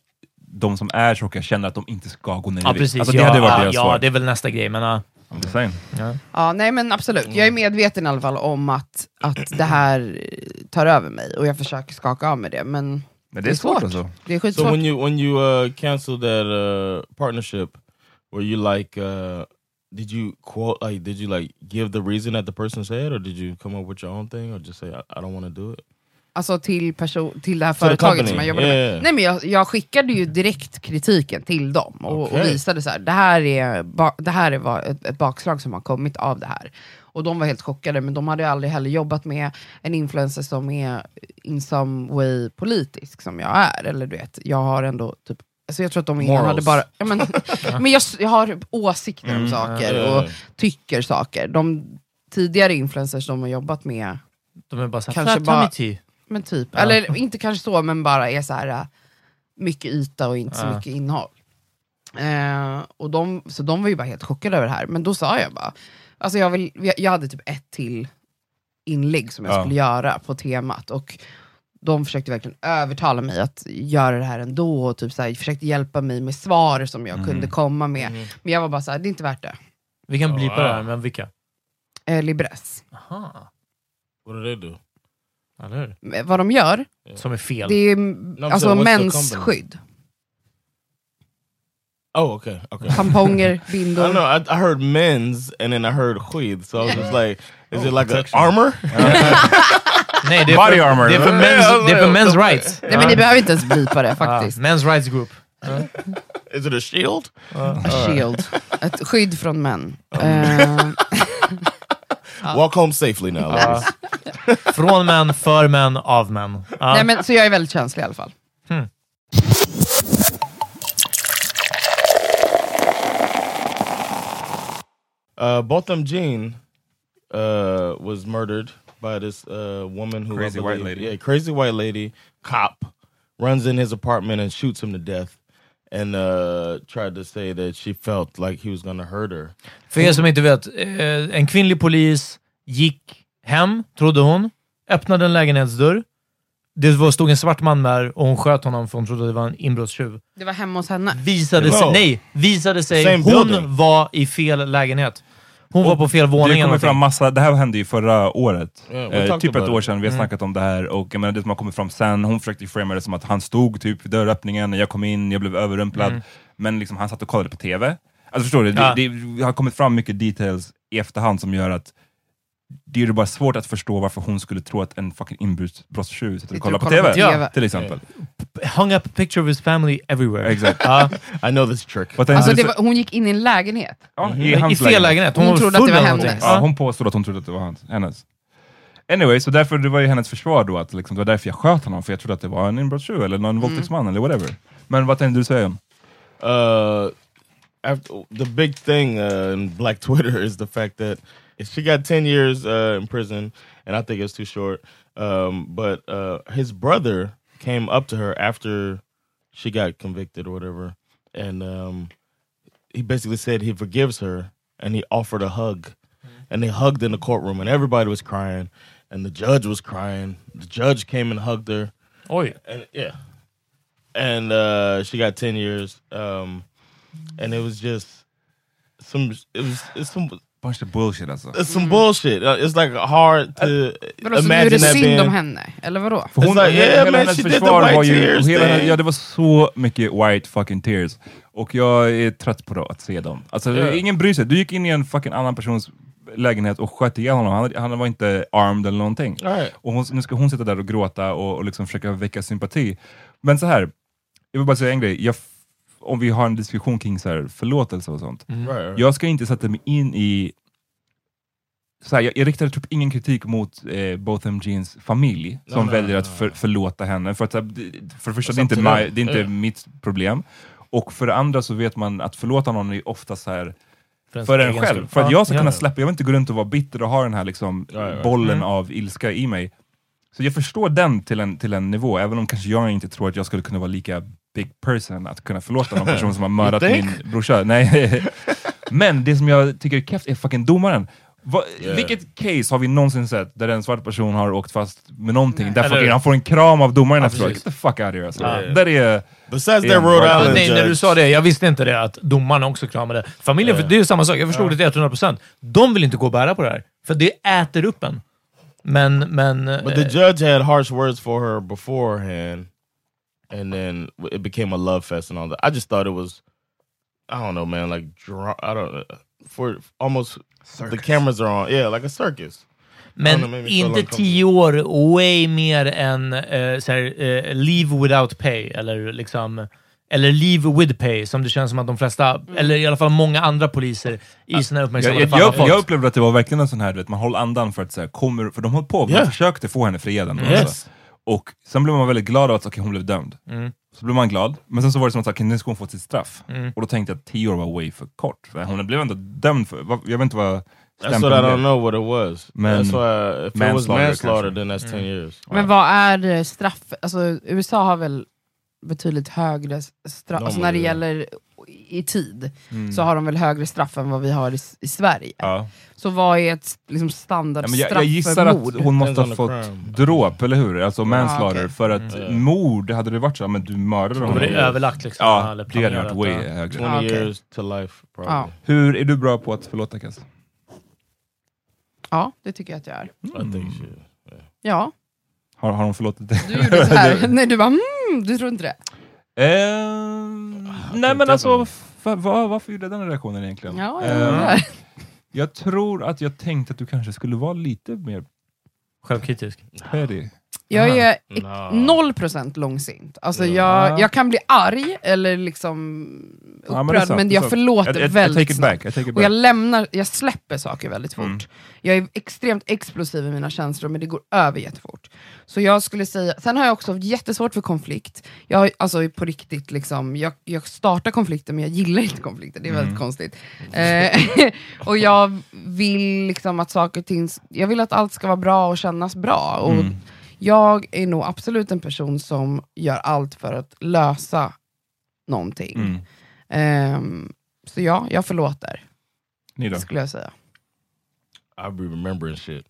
Speaker 6: de som är tjocka känner att de inte ska gå ner
Speaker 4: Ja,
Speaker 6: i
Speaker 4: precis.
Speaker 6: vikt. Alltså, det
Speaker 4: ja,
Speaker 6: hade varit deras
Speaker 4: ja,
Speaker 6: svar.
Speaker 4: det är väl nästa grej, men... ja.
Speaker 6: I'm just saying.
Speaker 2: Ja, nej men absolut. Jag är medveten i alla fall om att, att det här eh, tar över mig och jag försöker skaka av mig det. Men
Speaker 6: Men det är svårt alltså.
Speaker 2: Det är
Speaker 1: So
Speaker 2: skitsvårt.
Speaker 1: when you when you uh, canceled that uh, partnership, were you like, uh, did you quote like, did you like give the reason that the person said, or did you come up with your own thing, or just say I, I don't want to do it?
Speaker 2: Alltså till, person, till det här
Speaker 1: the
Speaker 2: företaget
Speaker 1: company.
Speaker 2: som jag jobbade
Speaker 1: Yeah, yeah.
Speaker 2: med. Nej, men jag, jag skickade ju direkt kritiken till dem och, och
Speaker 1: Okej.
Speaker 2: visade så här, det här är, ba, det här är vad, ett, ett bakslag som har kommit av det här. Och de var helt chockade, men de hade ju aldrig heller jobbat med en influencer som är in some way politisk som jag är. Eller du vet, jag har ändå typ Alltså jag tror att de innan
Speaker 1: Morals.
Speaker 2: hade bara... Ja,
Speaker 1: [LAUGHS]
Speaker 2: men men jag, s- jag har åsikter om saker
Speaker 1: Mm, ja, ja,
Speaker 2: och
Speaker 1: ja.
Speaker 2: tycker saker. De tidigare influencers de har jobbat med
Speaker 4: De är bara såhär,
Speaker 2: Kanske bara-
Speaker 4: fraternity.
Speaker 2: men typ, eller inte kanske så, men bara är så här äh, mycket yta och inte så
Speaker 4: Ja.
Speaker 2: mycket innehåll. Eh, och de, så de var ju bara helt chockade över det här, men då sa jag bara, alltså jag, vill, jag, jag hade typ ett till inlägg som jag
Speaker 6: Ja.
Speaker 2: skulle göra på temat, och de försökte verkligen övertala mig att göra det här ändå, och typ så här, försökte hjälpa mig med svar som jag kunde komma med. Men jag var bara så här, det är inte värt det.
Speaker 4: Vi kan blipa
Speaker 1: Oh, wow.
Speaker 4: det här, men vilka?
Speaker 2: Eh, Libres.
Speaker 4: Aha,
Speaker 1: What do they do?
Speaker 4: eller hur?
Speaker 2: Men Vad de gör,
Speaker 4: Som är fel.
Speaker 2: det är
Speaker 1: I'm
Speaker 2: alltså
Speaker 1: saying, what's the company?
Speaker 2: mensskydd.
Speaker 1: Oh, okay, okay.
Speaker 2: Tamponger,
Speaker 1: I don't
Speaker 2: bindor.
Speaker 1: know. I, I heard men's, and then I heard skid, so I was just like, is it like an
Speaker 6: protection.
Speaker 4: [LAUGHS]
Speaker 1: armor?
Speaker 4: Oh,
Speaker 1: [LAUGHS]
Speaker 4: Nej, det är
Speaker 6: Body
Speaker 4: för,
Speaker 6: armor.
Speaker 4: Det är för men's, det är för men's rights.
Speaker 2: Nej men ni behöver inte ens blipa det
Speaker 4: Ja,
Speaker 2: faktiskt.
Speaker 4: men's rights group.
Speaker 1: Is it a shield?
Speaker 2: A shield. Ett skydd från män. Eh,
Speaker 1: Walk home safely now. ladies.
Speaker 4: Från män, för män, av män. Ja.
Speaker 2: nej, men, så jag är väldigt känslig i alla fall.
Speaker 1: uh, Botham Jean uh, was murdered by this uh, woman who I
Speaker 6: Crazy white
Speaker 1: believe-
Speaker 6: lady.
Speaker 1: yeah, crazy white lady cop runs in his apartment and shoots him to death, and uh, tried to say that she felt like he was gonna hurt her.
Speaker 4: För er som inte vet, eh, en kvinnlig polis gick hem, trodde hon, öppnade en lägenhetsdörr. Det var, stod en svart man där och hon sköt honom för hon trodde det var en inbrottstjuv.
Speaker 2: Det var hemma hos henne.
Speaker 4: Visade sig,
Speaker 1: Wow.
Speaker 4: nej, visade sig,
Speaker 1: Same
Speaker 4: hon
Speaker 1: building.
Speaker 4: var i fel lägenhet. Hon var på fel våning
Speaker 6: Det
Speaker 4: eller
Speaker 6: kommer fram
Speaker 4: någonting.
Speaker 6: massa, det här hände ju förra året.
Speaker 1: Yeah, we
Speaker 6: eh,
Speaker 1: talked
Speaker 6: typ ett
Speaker 1: about
Speaker 6: år
Speaker 1: it.
Speaker 6: sedan, vi har snackat om det här och jag menar, det som har kommit fram sen, hon försökte ju framea det som att han stod typ vid dörröppningen, jag kom in, jag blev överrumplad. Men liksom, han satt och kollade på TV. Alltså förstår du,
Speaker 4: Ja.
Speaker 6: det, det har kommit fram mycket details i efterhand som gör att det är ju bara svårt att förstå varför hon skulle tro att en fucking inbrottstjuv sitter och kollar på Alltså, TV.
Speaker 2: Ja.
Speaker 6: Till exempel.
Speaker 4: Hung up a picture of his family everywhere.
Speaker 6: Exakt.
Speaker 4: Ja.
Speaker 1: I know this trick.
Speaker 6: Vad tänkte
Speaker 2: Alltså,
Speaker 6: du?
Speaker 2: det var, hon gick in i en lägenhet.
Speaker 6: ja, i, hans
Speaker 4: I fel lägenhet. Hon,
Speaker 2: Hon
Speaker 4: var
Speaker 2: trodde att det
Speaker 4: full
Speaker 2: var
Speaker 4: eller
Speaker 2: hennes.
Speaker 4: någonting.
Speaker 6: Ja, hon påstod att hon trodde att det var hans, hennes. Anyway, så därför det var ju hennes försvar då att liksom, det var därför jag sköt honom, för jag trodde att det var en inbrottstjuv eller någon våldtäktsman eller whatever. Men vad tänkte du säga?
Speaker 1: uh, after, the big thing uh, in Black [LAUGHS] Twitter is the fact that she got ten years uh, in prison, and I think it's too short. Um, but uh, his brother came up to her after she got convicted or whatever, and um, he basically said he forgives her, and he offered a hug, and they hugged in the courtroom, and everybody was crying, and the judge was crying. The judge came and hugged her
Speaker 4: Oj.
Speaker 1: and yeah, and uh, she got ten years. Um, and it was just some. It was it's some.
Speaker 6: Bunch of bullshit alltså.
Speaker 1: It's some bullshit. Uh, It's like hard to
Speaker 2: Mm. Vadå, så nu är
Speaker 1: imagine
Speaker 2: det
Speaker 1: that
Speaker 2: synd om
Speaker 1: being.
Speaker 2: henne? Eller vadå?
Speaker 6: För
Speaker 1: It's like, yeah, man, she did the white
Speaker 6: var ju...
Speaker 1: tears
Speaker 6: Hela,
Speaker 1: thing.
Speaker 6: ja, det var så mycket white fucking tears. Och jag är trött på det, att se dem. Alltså,
Speaker 1: Ja.
Speaker 6: ingen bryr sig. Du gick in i en fucking annan persons lägenhet och sköt ihjäl honom. Han, han var inte armed eller någonting.
Speaker 1: All right.
Speaker 6: Och hon, nu ska hon sitta där och gråta och, och liksom försöka väcka sympati. Men så här, jag vill bara säga en grej. Jag, f- om vi har en diskussion kring så här, förlåtelse och sånt.
Speaker 1: Right, right.
Speaker 6: Jag ska inte sätta mig in i... Så här, jag, jag riktar typ ingen kritik mot eh, Botham Jeans familj som
Speaker 1: nej,
Speaker 6: väljer
Speaker 1: nej,
Speaker 6: att för,
Speaker 1: nej.
Speaker 6: förlåta henne. För, att, så här, det- för det första, det är inte,
Speaker 1: Samtidigt- eh.
Speaker 6: my, det är inte
Speaker 1: Ja.
Speaker 6: mitt problem. Och för det andra så vet man att förlåta någon är ofta så här
Speaker 4: ens
Speaker 6: för en
Speaker 4: egen
Speaker 6: själv.
Speaker 4: skull.
Speaker 6: För att
Speaker 4: Ja,
Speaker 6: jag ska
Speaker 4: ja.
Speaker 6: kunna släppa, jag vill inte gå runt och vara bitter och ha den här liksom,
Speaker 1: Ja, ja, ja.
Speaker 6: bollen
Speaker 4: Mm.
Speaker 6: av ilska i mig. Så jag förstår den till en, till en nivå, även om kanske jag inte tror att jag skulle kunna vara lika big person att kunna förlåta någon person
Speaker 1: [LAUGHS]
Speaker 6: som har mördat
Speaker 1: think?
Speaker 6: min brorsa.
Speaker 1: [LAUGHS]
Speaker 6: Nej. Men det som jag tycker är kefft är fucking domaren. Va, Vilket case har vi någonsin sett där en svart person har åkt fast med någonting, där
Speaker 4: Eller-
Speaker 6: fucking, han får en kram av domaren efteråt? Get
Speaker 4: precis.
Speaker 6: the fuck out of here alltså.
Speaker 1: Ja, ja, ja.
Speaker 6: Där är...
Speaker 1: Besides
Speaker 6: Yeah,
Speaker 1: that Rhode
Speaker 6: right.
Speaker 1: Island
Speaker 4: Nej, när du
Speaker 1: judge-
Speaker 4: sa det, jag visste inte det att domarna också kramade. Familjen, för det är ju samma sak. Jag förstod det till 100%. De vill inte gå och bära på det här, för det äter upp en. Men, men...
Speaker 1: But the
Speaker 4: eh,
Speaker 1: judge had harsh words for her beforehand, and then it became a love fest and all that. I just thought it was, I don't know, man, like dra I don't for almost the cameras are on, yeah, like a circus. Ja,
Speaker 4: Men
Speaker 1: men vi kollar
Speaker 4: inte
Speaker 1: om kom-
Speaker 4: tio år, way mer än eh, så här, eh, leave without pay, eller liksom... Eller leave with pay, som det känns som att de flesta, eller i alla fall många andra poliser i
Speaker 6: Mm.
Speaker 4: sina
Speaker 6: Jag,
Speaker 4: uppmärksammade
Speaker 6: jag,
Speaker 4: fall har
Speaker 6: jag,
Speaker 4: fått.
Speaker 6: jag upplevde att det var verkligen en sån här, du vet, man håller andan för att så här, kommer, för de höll på, man
Speaker 1: Yeah.
Speaker 6: försökte få henne friad ändå.
Speaker 1: Mm. Yes.
Speaker 6: Alltså. Och sen blev man väldigt glad av att okej, hon blev dömd. Så blev man glad, men sen så var det som att okay, nu ska hon få sitt straff. Och då tänkte jag att 10 år var way för kort. För Hon blev ändå dömd för, vad- jag vet inte vad
Speaker 1: That's what I don't know what it was.
Speaker 6: Man-
Speaker 1: that's why if it was
Speaker 6: manslaughter,
Speaker 1: manslaughter,
Speaker 6: kanske.
Speaker 1: then that's ten years.
Speaker 2: Men vad är eh, straff... Alltså, USA har väl betydligt högre s- straff,
Speaker 1: De
Speaker 2: alltså, när det
Speaker 1: har ju-
Speaker 2: gäller i tid, så har de väl högre straff än vad vi har i, s- i Sverige.
Speaker 6: Mm. Ja.
Speaker 2: Så vad är ett liksom,
Speaker 6: Ja,
Speaker 2: standardstraff
Speaker 6: men jag, jag gissar
Speaker 2: för mord?
Speaker 6: att hon måste
Speaker 1: Depends
Speaker 6: ha fått
Speaker 1: on the crime.
Speaker 6: dråp, eller hur? Alltså manslaughter.
Speaker 2: okej.
Speaker 6: För att mord, hade det varit så, men du mördade
Speaker 4: Då var det
Speaker 6: honom.
Speaker 4: överlagt liksom.
Speaker 6: Ja,
Speaker 4: eller
Speaker 6: det hade varit
Speaker 4: planerat,
Speaker 6: way
Speaker 4: ja.
Speaker 6: högre.
Speaker 1: Twenty
Speaker 2: Ah, okay.
Speaker 1: years to life,
Speaker 2: Ja.
Speaker 1: probably.
Speaker 6: Hur är du bra på att förlåta Cass?
Speaker 2: ja, det tycker jag att jag är.
Speaker 1: I
Speaker 6: Mm.
Speaker 1: think she.
Speaker 2: Ja,
Speaker 6: Har, har hon förlåtit [LAUGHS] dig?
Speaker 2: du gjorde så här. Nej, du bara mm, du tror inte det?
Speaker 6: Ehm, nej men alltså, fa- va, varför gjorde jag den reaktionen egentligen?
Speaker 2: Ja,
Speaker 6: Ehm,
Speaker 2: jag undrar.
Speaker 6: jag tror att jag tänkte att du kanske skulle vara lite mer
Speaker 4: Självkritisk.
Speaker 6: petty.
Speaker 2: Jag är
Speaker 1: Nah.
Speaker 2: noll procent långsint. Alltså jag, jag kan bli arg eller liksom
Speaker 6: Ja,
Speaker 2: upprörd,
Speaker 6: men det är
Speaker 2: men,
Speaker 6: sant, det är
Speaker 2: jag
Speaker 6: sant.
Speaker 2: förlåter
Speaker 6: I, I, I
Speaker 2: väldigt
Speaker 6: take it
Speaker 2: snabbt.
Speaker 6: back. I take it
Speaker 2: Och
Speaker 6: back. Mm.
Speaker 2: jag, lämnar, jag släpper saker väldigt fort. Jag är extremt explosiv i mina känslor, men det går över jättefort. Så jag skulle säga, sen har jag också jättesvårt för konflikt. Jag har alltså på riktigt, liksom, jag, jag startar konflikter men jag gillar inte konflikter, det är
Speaker 6: Mm.
Speaker 2: väldigt konstigt. Eh, [LAUGHS] och jag vill liksom att saker och ting, jag vill att allt ska vara bra och kännas bra. Och
Speaker 6: Mm.
Speaker 2: Jag är nog absolut en person som gör allt för att lösa någonting.
Speaker 6: Mm.
Speaker 2: Ehm, så ja, jag förlåter
Speaker 6: Ni då?
Speaker 2: skulle jag säga.
Speaker 1: I'll be remembering shit.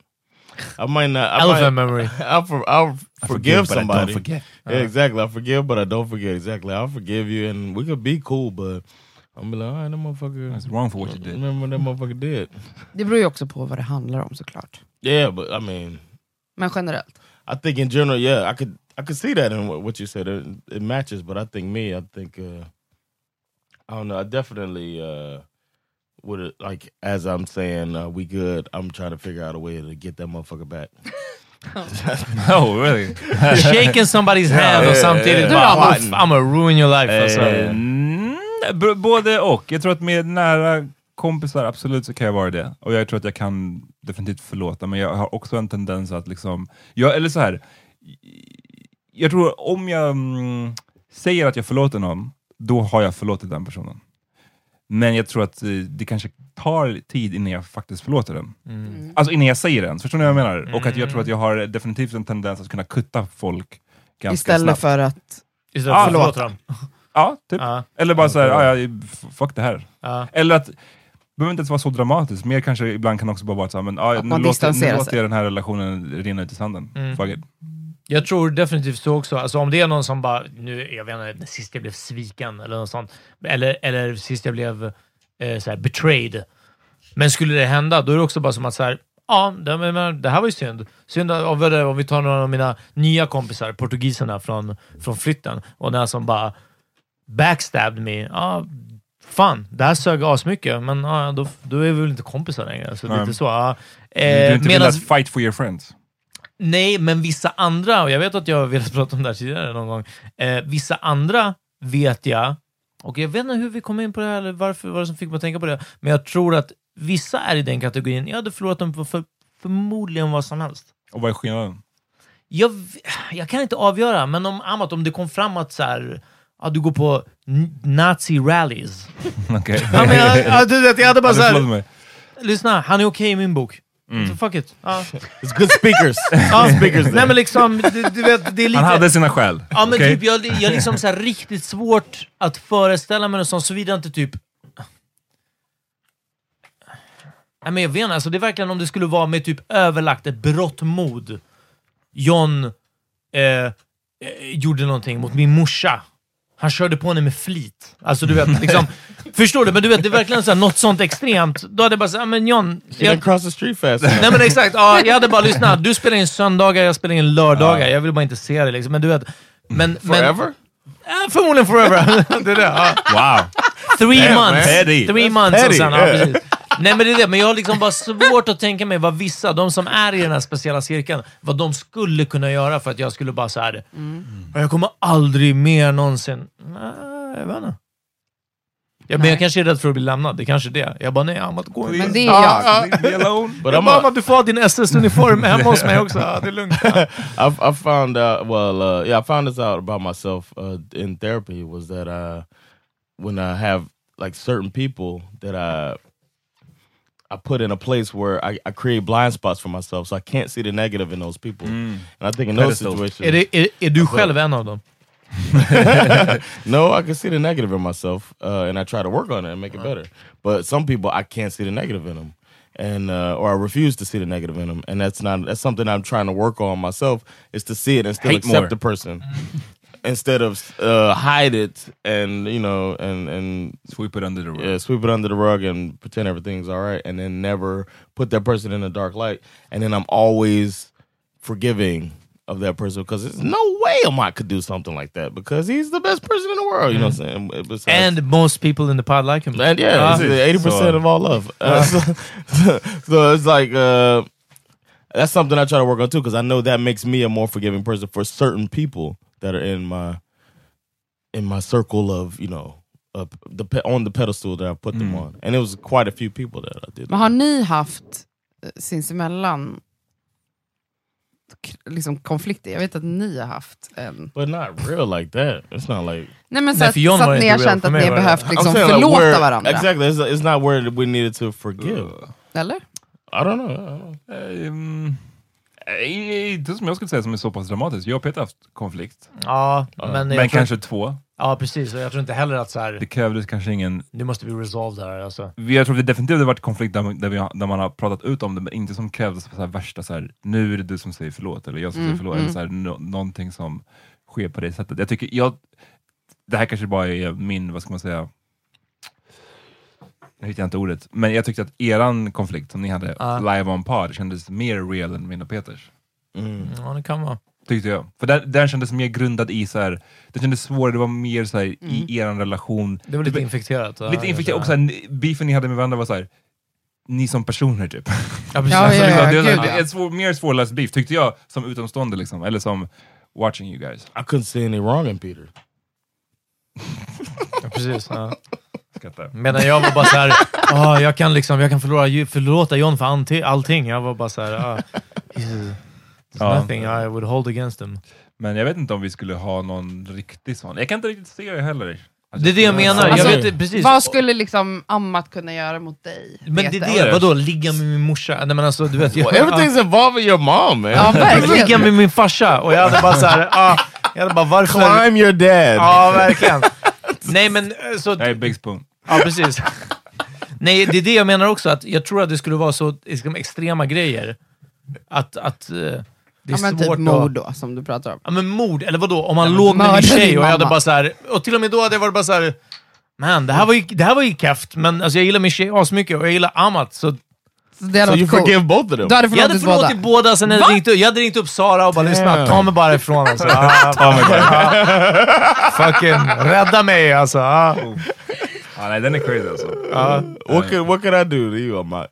Speaker 1: I might not. I might,
Speaker 4: Elephant memory.
Speaker 1: I'll, for, I'll forgive,
Speaker 6: but I don't [LAUGHS]
Speaker 1: somebody.
Speaker 6: forget.
Speaker 1: Yeah, exactly. I forgive, but I don't forget. Exactly. I'll forgive you, and we could be cool, but I'm be like, all right, that
Speaker 6: That's
Speaker 1: motherfucker.
Speaker 6: wrong for what you [LAUGHS] did.
Speaker 1: Remember what that motherfucker did?
Speaker 2: Det beror ju också på vad det handlar om såklart.
Speaker 1: Yeah, but I mean,
Speaker 2: Men generellt.
Speaker 1: I think in general, yeah, I could, I could see that in what, what you said. It, it matches, but I think me, I think, uh, I don't know. I definitely uh, would have, like as I'm saying, uh, we good. I'm trying to figure out a way to get that motherfucker back.
Speaker 6: Oh [LAUGHS] really?
Speaker 4: Shaking
Speaker 6: [LAUGHS]
Speaker 4: somebody's hand och samtidigt
Speaker 1: yeah.
Speaker 4: bara
Speaker 1: Du då,
Speaker 4: I'm,
Speaker 1: Martin?
Speaker 4: a- I'm a ruin your life. Alltså.
Speaker 6: Mm, b- både och. Jag tror att med nära kompisar, absolut, så kan jag vara det. Och jag tror att jag kan definitivt förlåta, men jag har också en tendens att liksom... Jag, eller så här. Jag tror om jag mm, säger att jag förlåter någon, då har jag förlåtit den personen. Men jag tror att eh, det kanske tar tid innan jag faktiskt förlåter den.
Speaker 2: Mm.
Speaker 6: Alltså innan jag säger den, förstår ni vad jag menar? Och att jag tror att jag har definitivt en tendens att kunna kutta folk ganska
Speaker 2: Istället
Speaker 6: snabbt.
Speaker 2: för att...
Speaker 4: Istället för att
Speaker 6: förlåt.
Speaker 4: förlåta dem.
Speaker 6: Ja, typ.
Speaker 4: Ja,
Speaker 6: Eller bara såhär, ah, ja, f- fuck det här.
Speaker 4: ja.
Speaker 6: Eller att, det behöver inte ens vara så dramatiskt, mer kanske ibland kan också bara vara såhär, men ah,
Speaker 2: Att
Speaker 6: nu,
Speaker 2: man
Speaker 6: låter, nu
Speaker 2: distanserar
Speaker 6: låter
Speaker 2: sig.
Speaker 6: jag den här relationen rinna ut i sanden.
Speaker 4: Mm.
Speaker 6: Fuck
Speaker 4: Eh,
Speaker 6: it.
Speaker 4: Jag tror definitivt så också. Alltså om det är någon som bara, nu, jag vet inte, sist jag blev sviken eller något sånt. Eller, eller sist jag blev eh, så här, betrayed. Men skulle det hända, då är det också bara som att så här, ja, det, men- men, det här var ju synd. Synd att- om, vi- om vi tar några av mina nya kompisar, portugiserna från, från flytten. Och den här som bara backstabbed me. Ja, fan, det här sög asmycket, men ja, då, då är vi väl inte kompisar längre. Så
Speaker 6: Nej.
Speaker 4: lite så. Ja. Eh,
Speaker 6: du är inte
Speaker 4: medans-
Speaker 6: vill att fight for your friends.
Speaker 4: Nej, men vissa [LAUGHS] andra, och jag vet att jag har velat prata om det här tidigare någon gång. Eh, vissa andra vet jag Och jag vet inte hur vi kom in på det här, eller varför, vad det som fick mig att tänka på det. Men jag tror att vissa är i den kategorin. Jag hade förlorat dem för, för förmodligen vad som helst.
Speaker 6: Och vad är skillnaden? [LAUGHS]
Speaker 4: Jag, v- jag kan inte avgöra, men om, Amat, om det kom fram att så här, ja, du går på n- nazi-rallies.
Speaker 6: Okej.
Speaker 4: Ja,
Speaker 6: [LAUGHS]
Speaker 4: men jag, ja, du vet, jag hade bara
Speaker 6: Ja,
Speaker 4: så
Speaker 6: du förlåter
Speaker 4: här,
Speaker 6: mig. Mm.
Speaker 4: lyssna, han är okej i min bok. Så fuck it.
Speaker 6: [LAUGHS]
Speaker 4: Ja.
Speaker 1: It's good speakers.
Speaker 4: Ja. Nej men liksom, du, du vet, det är lite...
Speaker 6: Han hade sina skäl.
Speaker 4: Ja men
Speaker 6: okej?
Speaker 4: typ, jag jag är liksom så här riktigt svårt att föreställa mig något sånt, såvida inte typ... Nej men jag vet inte, alltså det är verkligen om det skulle vara med typ överlagt, ett brott mod. John eh, eh, gjorde någonting mot min morsa. Han körde på henne med flit. Alltså du vet, liksom, förstår du? Men du vet, det är verkligen så här, något sånt extremt. Då hade jag bara såhär, men John...
Speaker 1: She
Speaker 4: jag-
Speaker 1: didn't cross the street fast enough.
Speaker 4: Nej men exakt, ja, jag hade bara lyssnat. Du spelar in söndagar, jag spelar in lördagar. Jag vill bara inte se det liksom. Men du vet... Men,
Speaker 1: Forever?
Speaker 4: Men, ja, förmodligen forever. [LAUGHS] det är det, ja.
Speaker 6: Wow.
Speaker 4: Three
Speaker 6: Damn,
Speaker 4: months.
Speaker 6: man. Petty.
Speaker 4: Three months
Speaker 1: petty,
Speaker 4: och sen, ja,
Speaker 1: yeah.
Speaker 4: precis. Nej men det är det, men jag har liksom bara svårt att tänka mig vad vissa, de som är i den här speciella cirkeln, vad de skulle kunna göra för att jag skulle bara såhär, jag kommer aldrig mer någonsin... Nej, jag vet inte. Ja, men
Speaker 2: Nej.
Speaker 4: jag kanske är rädd för att bli lämnad, det kanske är det. Jag bara, nej Amat, gå inte.
Speaker 2: Men det är jag.
Speaker 6: Leave me alone.
Speaker 1: But
Speaker 4: Jag
Speaker 1: I'm
Speaker 4: bara,
Speaker 1: a,
Speaker 4: "Mamma, du får ha din SS-uniform hemma hos mig också. Ja, det är lugnt.
Speaker 1: I've, I found out. Well, uh, yeah, I found this out about myself uh, in therapy was that uh, when I have like certain people that I I put in a place where I, I create blind spots for myself, so I can't see the negative in those people. And I think in those
Speaker 6: Pedestals.
Speaker 1: situations,
Speaker 4: Är, det, är, är du själv en av dem?
Speaker 1: no, I can see the negative in myself, uh, and I try to work on it and make it better. But some people, I can't see the negative in them, and uh, or I refuse to see the negative in them, and that's not that's something I'm trying to work on myself is to see it and still
Speaker 6: Hate
Speaker 1: accept
Speaker 6: more.
Speaker 1: the person instead of uh, hide it and you know and and
Speaker 6: Sweep it under the rug.
Speaker 1: yeah, sweep it under the rug and pretend everything's all right, and then never put that person in a dark light. And then I'm always forgiving of that person because there's no way Amok could do something like that because he's the best person in the world. You know what I'm saying? Besides-
Speaker 4: And most people in the pod like him.
Speaker 1: and yeah,
Speaker 4: Ah.
Speaker 1: eighty percent
Speaker 6: So-
Speaker 1: of all love. [LAUGHS] Uh, so, so- so it's like uh, that's something I try to work on too because I know that makes me a more forgiving person for certain people that are in my in my circle of you know of the pe- on the pedestal that I put them on, and it was quite a few people that I did.
Speaker 2: Men har ni haft eh, sinsemellan k- liksom konflikter? Jag vet att ni har haft en.
Speaker 1: But not real like that. It's not like
Speaker 2: Nej, men så,
Speaker 4: Nej,
Speaker 2: att,
Speaker 4: för John
Speaker 2: så
Speaker 4: var
Speaker 2: att ni
Speaker 4: inte
Speaker 2: har
Speaker 4: real
Speaker 2: känt
Speaker 4: för
Speaker 2: att
Speaker 4: mig,
Speaker 2: ni
Speaker 4: var
Speaker 2: har
Speaker 4: det?
Speaker 2: behövt liksom
Speaker 1: I'm saying like
Speaker 2: förlåta
Speaker 1: where-
Speaker 2: varandra.
Speaker 1: Exactly, it's, it's not where we needed to forgive.
Speaker 2: Eller?
Speaker 1: I don't know. I don't know.
Speaker 6: Ehm, eh, inte som jag skulle säga som är så pass dramatiskt. Jag och Peter har haft konflikt.
Speaker 4: Ja, men, jag
Speaker 6: men
Speaker 4: tror,
Speaker 6: kanske två.
Speaker 4: Ja, precis. Och jag tror inte heller att så här,
Speaker 6: Det krävdes kanske ingen...
Speaker 4: nu måste vi resolve det här. Alltså.
Speaker 6: Vi- Jag tror det definitivt har varit konflikt där, där, vi, har- där man har pratat ut om det, men inte som krävdes på så här värsta så här, nu är det du som säger förlåt, eller jag som
Speaker 4: Mm,
Speaker 6: säger förlåt, eller så här, nå- någonting som sker på det sättet. Jag tycker, jag, det här kanske bara är min, vad ska man säga, nu hittar jag inte ordet, men jag tyckte att eran konflikt som ni hade
Speaker 4: Ja.
Speaker 6: live on pod kändes mer real än min och Peters.
Speaker 4: Ja, det kan vara.
Speaker 6: Tyckte jag. För den, den kändes mer grundad i så här, det kändes svårare, det var mer så här, i er relation.
Speaker 4: Det var lite
Speaker 6: blev-
Speaker 4: infekterat. Ja,
Speaker 6: lite infekterat, och så här, ni- beefen ni hade med varandra var så här, ni som personer typ. [LAUGHS]
Speaker 4: Ja, precis.
Speaker 2: Ja,
Speaker 6: Alltså,
Speaker 2: ja,
Speaker 6: liksom,
Speaker 2: ja,
Speaker 6: det var så här,
Speaker 2: gud, ja.
Speaker 6: Ett svår, mer svårläst beef tyckte jag, som utomstående liksom, eller som watching you guys.
Speaker 1: I couldn't see any wrong in Peter.
Speaker 4: Ja, precis ja.
Speaker 6: Skrattar.
Speaker 4: Medan jag var bara så här, [LAUGHS] "Ah, jag kan, liksom, jag kan förlora, ju- förlåta John för anti- allting. Jag var bara så här, ah, he's- there's
Speaker 6: Ja.
Speaker 4: nothing I would hold against him.
Speaker 6: Men jag vet inte om vi skulle ha någon riktig sån. Jag kan inte riktigt se det heller.
Speaker 4: Det är det jag menar.
Speaker 2: Alltså,
Speaker 4: jag vet, precis.
Speaker 2: Vad skulle liksom Ammat kunna göra mot dig?
Speaker 4: Men det
Speaker 2: Peter?
Speaker 4: är det, vadå? Ligga med min morsa? Nej men alltså du vet... Jag,
Speaker 1: Well, everything's involving your mom, man.
Speaker 2: Ja,
Speaker 4: ligga
Speaker 2: verkligen.
Speaker 4: med min farsa och jag hade bara såhär, ah, jag hade bara varför?
Speaker 1: Climb your dad.
Speaker 4: Ja, verkligen. Nej men eh, så,
Speaker 6: Jag är Big Spoon.
Speaker 4: ja precis. Nej, det är det jag menar också, att jag tror att det skulle vara så liksom, extrema grejer. Att, att eh, det är
Speaker 2: Ja, men
Speaker 4: svårt
Speaker 2: typ
Speaker 4: att...
Speaker 2: mord då, som du pratar om.
Speaker 4: Ja men mord, eller vadå? Om han
Speaker 2: men
Speaker 4: låg med min
Speaker 2: mörda
Speaker 4: tjej
Speaker 2: din
Speaker 4: och jag hade
Speaker 2: mamma.
Speaker 4: bara så här, och till och med då hade jag varit bara så här, man det här var ju, det här var ju kefft, men alltså, jag gillar min tjej asmycket och jag gillar Amat, så
Speaker 2: Så Alltså, det hade
Speaker 1: So you
Speaker 2: varit coolt.
Speaker 1: forgive both of them.
Speaker 2: Du hade
Speaker 4: jag hade
Speaker 2: förlåtit
Speaker 4: förlåtit
Speaker 2: båda.
Speaker 4: båda, sen hade jag ringt, upp- jag hade ringt upp Sara och bara lyssna, ta mig bara ifrån
Speaker 2: [LAUGHS]
Speaker 4: alltså. Ja,
Speaker 6: Oh [LAUGHS]
Speaker 4: ja. Fucking rädda mig alltså.
Speaker 1: Ah.
Speaker 4: Ja.
Speaker 6: Ja, Ah, nej, den är crazy alltså.
Speaker 1: What could what could I do to you, Amok?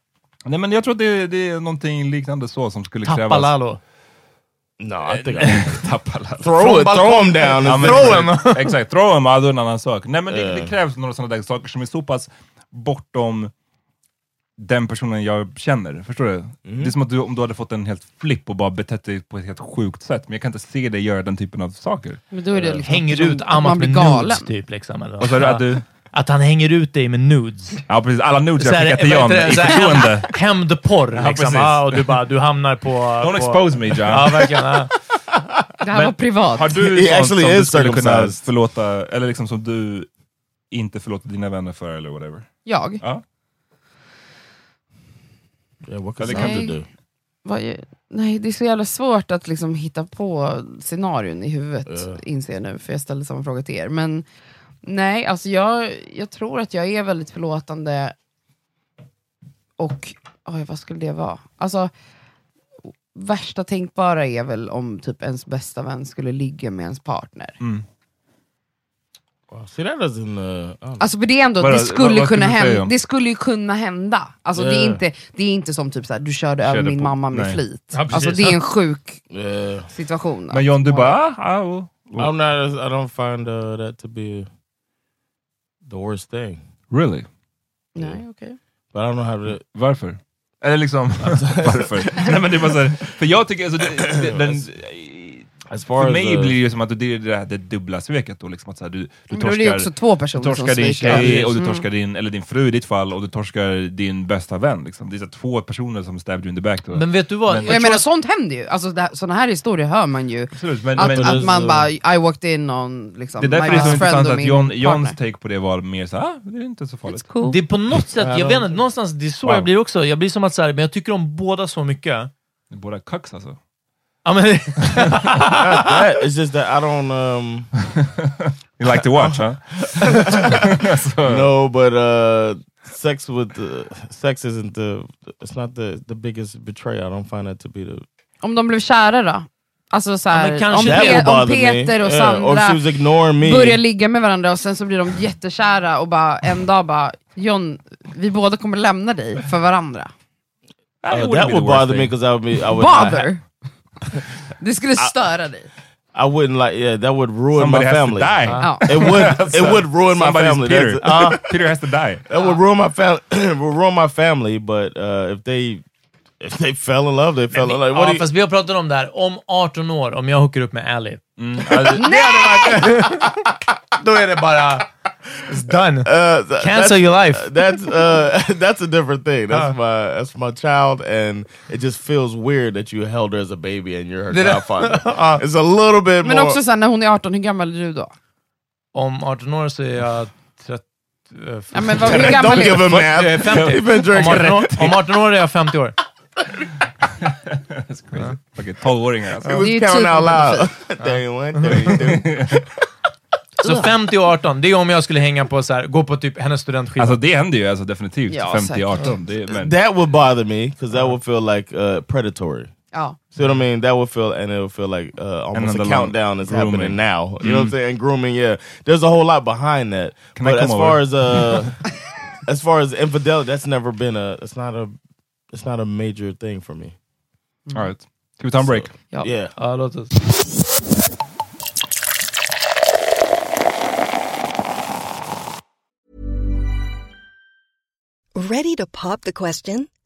Speaker 6: Nej, men jag tror att det, det är någonting liknande så som skulle
Speaker 4: Tappa
Speaker 6: krävas.
Speaker 4: Lalo.
Speaker 1: No, I [LAUGHS] think I
Speaker 6: Tappa alla.
Speaker 1: throw it, throw him down.
Speaker 6: Ja,
Speaker 1: and
Speaker 6: men-
Speaker 1: throw
Speaker 6: [LAUGHS]
Speaker 1: him.
Speaker 6: Exakt, throw him out är en annan sak. Nej, men det,
Speaker 1: Eh.
Speaker 6: det krävs några sådana där saker som är så pass bortom den personen jag känner. Förstår du?
Speaker 4: Mm.
Speaker 6: Det är som att du, om du hade fått en helt flipp och bara betett dig på ett helt sjukt sätt. Men jag kan inte se dig göra den typen av saker.
Speaker 2: Men då är det liksom
Speaker 4: Hänger ut
Speaker 2: att
Speaker 4: Amat
Speaker 2: man
Speaker 4: med
Speaker 2: blir galen.
Speaker 4: nudes typ. Liksom, eller?
Speaker 6: Och så är det att du...
Speaker 4: Att han hänger ut dig med nudes.
Speaker 6: Ja precis, alla nudes jag
Speaker 4: Så här,
Speaker 6: skickat till
Speaker 4: vad
Speaker 6: John
Speaker 4: heter
Speaker 6: i
Speaker 4: det? Så här, [LAUGHS]
Speaker 6: förtroende.
Speaker 4: häm- Hämndporr liksom.
Speaker 6: precis.
Speaker 4: Ja, och du bara, du hamnar på...
Speaker 6: Don't
Speaker 4: på,
Speaker 6: expose me John.
Speaker 4: [LAUGHS] Ja, verkligen. Ja.
Speaker 2: Det här var privat.
Speaker 6: Har du
Speaker 1: He
Speaker 6: något som
Speaker 1: actually
Speaker 6: du
Speaker 1: is
Speaker 6: skulle kunna
Speaker 1: circumcised.
Speaker 6: förlåta, eller liksom som du inte förlåter dina vänner för eller whatever?
Speaker 2: Jag?
Speaker 6: Ja?
Speaker 1: Yeah, what could
Speaker 6: Eller
Speaker 2: kan
Speaker 1: Sandra
Speaker 2: du-
Speaker 1: do?
Speaker 2: Vad är- nej, det är så jävla svårt att liksom hitta på scenarion i huvudet,
Speaker 1: Ja.
Speaker 2: inser jag nu, för jag ställde samma fråga till er. Men nej, alltså jag, jag tror att jag är väldigt förlåtande och, oj, vad skulle det vara? Alltså, värsta tänkbara är väl om typ ens bästa vän skulle ligga med ens partner.
Speaker 1: Wow, see, that doesn't... Uh, I don't know.
Speaker 2: Alltså för det är ändå,
Speaker 6: Vadå,
Speaker 2: det skulle,
Speaker 6: vad- vad
Speaker 2: kunna
Speaker 6: skulle du säga
Speaker 2: hända,
Speaker 6: om-
Speaker 2: det skulle ju kunna hända. Alltså det, är
Speaker 1: Ja.
Speaker 2: inte, det är inte som typ såhär, du körde, över
Speaker 6: Körde
Speaker 2: min
Speaker 6: på-
Speaker 2: mamma med
Speaker 6: nej.
Speaker 2: flit.
Speaker 4: Ja, precis.
Speaker 2: alltså det är en sjuk
Speaker 1: Yeah.
Speaker 2: situation.
Speaker 6: Men John du
Speaker 2: Ja.
Speaker 6: bara, ah, ah, oh.
Speaker 1: [LAUGHS] I'm not. I don't find uh, that to be the worst thing.
Speaker 6: Really?
Speaker 2: Nej, okej.
Speaker 1: But I don't know how to.
Speaker 6: Varför? Eller liksom, varför? [LAUGHS] Nej men det var så här, för jag tycker, alltså, det, det, den,
Speaker 1: As far
Speaker 6: för
Speaker 1: as
Speaker 6: mig
Speaker 1: the-
Speaker 6: blir det ju som att det är det, här, det dubbla sveket då, liksom att så här, du, du
Speaker 2: Men då är det ju också
Speaker 6: torskar,
Speaker 2: två
Speaker 6: du
Speaker 2: personer
Speaker 6: torskar
Speaker 2: som
Speaker 6: din
Speaker 2: sviker.
Speaker 6: tjej och du
Speaker 2: Mm.
Speaker 6: torskar din, eller din fru i ditt fall, och du torskar din bästa vän. Liksom. Det är så här, två personer som stabbed you in the back. Då.
Speaker 4: Men vet du vad?
Speaker 6: Men-
Speaker 2: Jag, menar sånt händer ju, alltså, det, här- såna här historier hör man ju.
Speaker 6: Absolut, men,
Speaker 2: Att,
Speaker 6: men,
Speaker 2: att man
Speaker 1: så-
Speaker 2: bara, I walked in on liksom,
Speaker 6: det är därför
Speaker 2: my
Speaker 6: det är så
Speaker 2: best friend
Speaker 6: intressant
Speaker 2: och
Speaker 6: att
Speaker 2: min
Speaker 6: John,
Speaker 2: partner.
Speaker 6: Johns take på det var mer så här, ah, det är inte så farligt.
Speaker 2: Cool.
Speaker 4: Det är på något sätt, jag
Speaker 1: Ja,
Speaker 4: vet inte, någonstans, det är så
Speaker 6: Wow.
Speaker 4: jag blir också. Jag blir som att så här, men jag tycker om båda så mycket.
Speaker 6: Ni är Båda cucks alltså.
Speaker 4: Ja, men,
Speaker 1: that, it's just that I don't um
Speaker 6: You like to watch, huh?
Speaker 1: no, but uh sex with uh, sex isn't the it's not the the biggest betrayal. I don't find that to be the
Speaker 2: Om de blev kära då? Alltså så här,
Speaker 4: Ja, men kanske
Speaker 2: om,
Speaker 4: That
Speaker 2: Pe-
Speaker 1: would
Speaker 2: om
Speaker 1: bother
Speaker 2: Peter
Speaker 1: me.
Speaker 2: och
Speaker 1: Yeah, or if she
Speaker 2: Sandra
Speaker 1: was ignoring me.
Speaker 2: börjar ligga med varandra och sen så blir de jättekära och bara en dag bara, John, vi båda kommer lämna dig för varandra.
Speaker 6: [LAUGHS] That
Speaker 1: Uh,
Speaker 6: wouldn't
Speaker 1: that
Speaker 6: be the
Speaker 1: would
Speaker 6: worst
Speaker 1: bother me
Speaker 6: thing.
Speaker 1: because I would be I would not ha-
Speaker 2: Bother! [LAUGHS] Det skulle störa dig.
Speaker 1: I wouldn't like yeah that would ruin
Speaker 6: Somebody
Speaker 1: my
Speaker 6: has to
Speaker 1: family.
Speaker 6: die. Alltså,
Speaker 2: Ja.
Speaker 6: [LAUGHS]
Speaker 1: It would it would ruin my
Speaker 6: Somebody's
Speaker 1: family.
Speaker 6: Peter. [LAUGHS]
Speaker 1: That's, uh,
Speaker 6: Peter has to die.
Speaker 1: That would ruin my [CLEARS THROAT] family. would ruin my family. But uh, if they if they fell in love, they fell in love. What
Speaker 4: ja,
Speaker 1: do you,
Speaker 4: fast vi har pratat om det här, om 18 år, om jag hookar upp med Ally.
Speaker 1: Mm.
Speaker 4: [LAUGHS] Alltså,
Speaker 1: [LAUGHS]
Speaker 4: Då är det bara... It's done.
Speaker 1: uh, th-
Speaker 4: Cancel your life.
Speaker 1: [LAUGHS] That's uh, [LAUGHS] that's a different thing. That's my that's my child, and it just feels weird that you held her as a baby and you're her godfather. it's a little bit
Speaker 2: Men
Speaker 1: more.
Speaker 2: också sen när hon är 18, hur gammal är du då?
Speaker 4: Om 18 år så är jag 30... eh,
Speaker 2: Ja, men vad, hur gammal
Speaker 1: don't
Speaker 2: är du?
Speaker 1: give him math.
Speaker 4: 50.
Speaker 1: You've been
Speaker 4: Om
Speaker 1: drinking.
Speaker 4: 18, år,
Speaker 1: [LAUGHS]
Speaker 4: om 18 år är jag 50 år.
Speaker 6: That's crazy. Okej, tolvåringar alltså.
Speaker 1: He was
Speaker 2: You
Speaker 1: counting
Speaker 2: too,
Speaker 1: out loud.
Speaker 2: Mr.
Speaker 1: 31, 32.
Speaker 4: Så 50 och 18, det är om jag skulle hänga på så här, gå på typ hennes studentskiva.
Speaker 6: Alltså det händer ju alltså, definitivt.
Speaker 2: Ja,
Speaker 6: 50,
Speaker 2: säkert.
Speaker 6: 18. Det, är- men,
Speaker 1: [LAUGHS] That would bother me because that would feel like uh, predatory.
Speaker 2: Ja.
Speaker 1: See what I mean? That would feel, and it would feel like uh, almost
Speaker 6: then
Speaker 1: a
Speaker 6: the
Speaker 1: countdown is happening
Speaker 6: grooming. Mm.
Speaker 1: now. You know what I'm saying? Grooming, yeah. There's a whole lot behind that.
Speaker 6: Can I
Speaker 1: but
Speaker 6: come
Speaker 1: as far
Speaker 6: over?
Speaker 1: as uh, as far as infidelity, that's never been a. It's not a. It's not a major thing for me.
Speaker 6: [LAUGHS] all right. Ska vi ta en break?
Speaker 2: Ja.
Speaker 1: Yeah.
Speaker 4: Ja, låt oss.
Speaker 7: Ready to pop the question?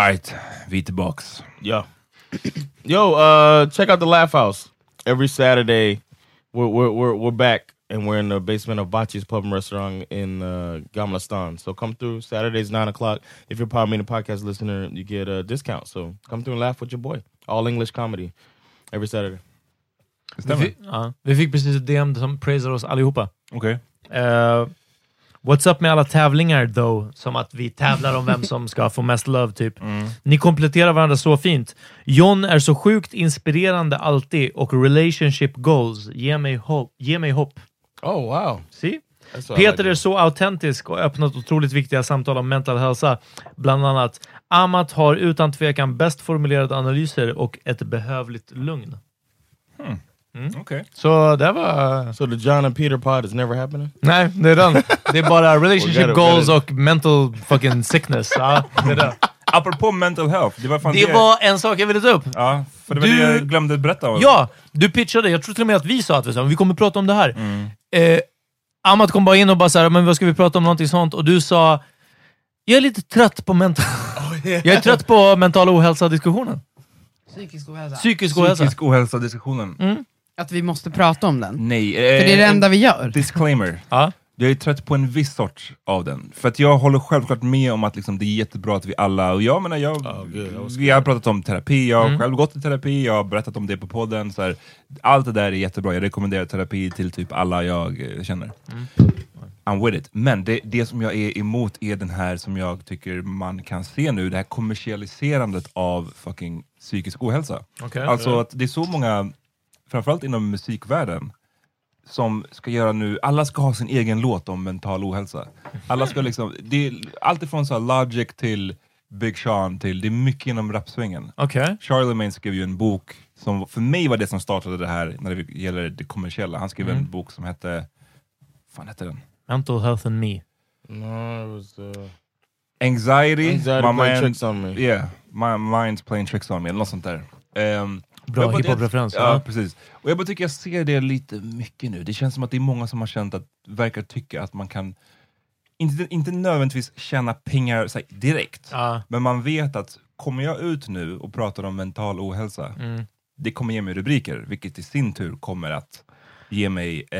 Speaker 6: Alright, vi är tillbaks.
Speaker 1: Yeah. [CLEARS THROAT] Yo, uh, check out the Laugh House every Saturday. We're we're we're, we're back and we're in the basement of Bachi's Pub and Restaurant in uh, Gamla Stan. So come through Saturdays nine o'clock. If you're Power Meeting podcast listener, you get a discount. So come through and laugh with your boy. All English comedy every Saturday.
Speaker 4: Vi fick, ja, vi fick precis ett DM som praisar oss allihopa.
Speaker 6: Okej.
Speaker 4: Eh, what's up med alla tävlingar though? Som att vi tävlar om vem som ska få mest love, typ.
Speaker 1: Mm.
Speaker 4: Ni kompletterar varandra så fint. John är så sjukt inspirerande alltid och relationship goals ger mig hopp. Ge mig hopp.
Speaker 1: Oh wow.
Speaker 4: See?
Speaker 1: That's what I
Speaker 4: Peter
Speaker 1: like.
Speaker 4: är så autentisk och öppnat otroligt viktiga samtal om mental hälsa. Bland annat, Amat har utan tvekan bäst formulerade analyser och ett behövligt lugn.
Speaker 6: Okej.
Speaker 1: So that was so the John and Peter pod is never happening.
Speaker 4: eh, Nej, det
Speaker 1: [LAUGHS]
Speaker 4: är den. Det är bara
Speaker 1: Well,
Speaker 4: relationship
Speaker 1: got it,
Speaker 4: goals
Speaker 1: got
Speaker 4: och mental fucking sickness. Ja, det, är det.
Speaker 6: Apropå mental health, det var fan
Speaker 4: det var en sak jag ville ta upp.
Speaker 6: Ja, för det var
Speaker 4: Du-
Speaker 6: det jag glömde berätta om.
Speaker 4: Ja, du pitchade. Jag tror till och med att vi sa att vi, sa, vi kommer prata om det här.
Speaker 1: Mm.
Speaker 4: Eh, Amat kom bara in och bara så här, men vad ska vi prata om? Någonting sånt. Och du sa, jag är lite trött
Speaker 1: [LAUGHS]
Speaker 4: på mental...
Speaker 1: Oh,
Speaker 4: Jag är trött på mental ohälsa-diskussionen.
Speaker 2: Psykisk ohälsa.
Speaker 4: Psykisk ohälsa.
Speaker 6: Psykisk ohälsa-diskussionen.
Speaker 4: Mm.
Speaker 2: Att vi måste prata om den.
Speaker 6: Nej. eh,
Speaker 2: För det är det enda vi gör.
Speaker 6: Disclaimer.
Speaker 4: Ja.
Speaker 6: Jag är trött på en viss sort av den. För att jag håller självklart med om att liksom det är jättebra att vi alla, och jag menar, jag, vi har pratat om terapi, jag har
Speaker 4: Mm.
Speaker 6: själv gått i terapi, jag har berättat om det på podden. Så här, allt det där är jättebra, jag rekommenderar terapi till typ alla jag eh, känner. I'm with it. Men det, det som jag är emot är den här som jag tycker man kan se nu, det här kommersialiserandet av fucking psykisk ohälsa.
Speaker 4: Okej.
Speaker 6: Alltså att det är så många, framförallt inom musikvärlden, som ska göra nu, alla ska ha sin egen låt om mental ohälsa. Alla ska liksom, det är allt ifrån så här Logic till Big Sean till, det är mycket inom rapsvängen.
Speaker 4: Okej.
Speaker 6: Charlemagne skrev ju en bok som för mig var det som startade det här när det gäller det kommersiella. Han skrev en bok som hette, fan hette den?
Speaker 4: Mental health and me.
Speaker 1: No, it was uh,
Speaker 6: Anxiety,
Speaker 1: anxiety
Speaker 6: my,
Speaker 1: playing
Speaker 6: mind,
Speaker 1: tricks on me.
Speaker 6: yeah, my mind's playing tricks on me, eller något sånt där. Ehm,
Speaker 4: Bra
Speaker 6: jag bara-
Speaker 4: hiphop-referens,
Speaker 6: Ja,
Speaker 4: ja.
Speaker 6: precis. Och jag bara tycker jag ser det lite mycket nu. Det känns som att det är många som har känt att, verkar tycka att man kan, inte, inte nödvändigtvis tjäna pengar så här, direkt,
Speaker 4: Ja.
Speaker 6: men man vet att kommer jag ut nu och pratar om mental ohälsa,
Speaker 4: Mm.
Speaker 6: det kommer ge mig rubriker, vilket i sin tur kommer att ge mig eh,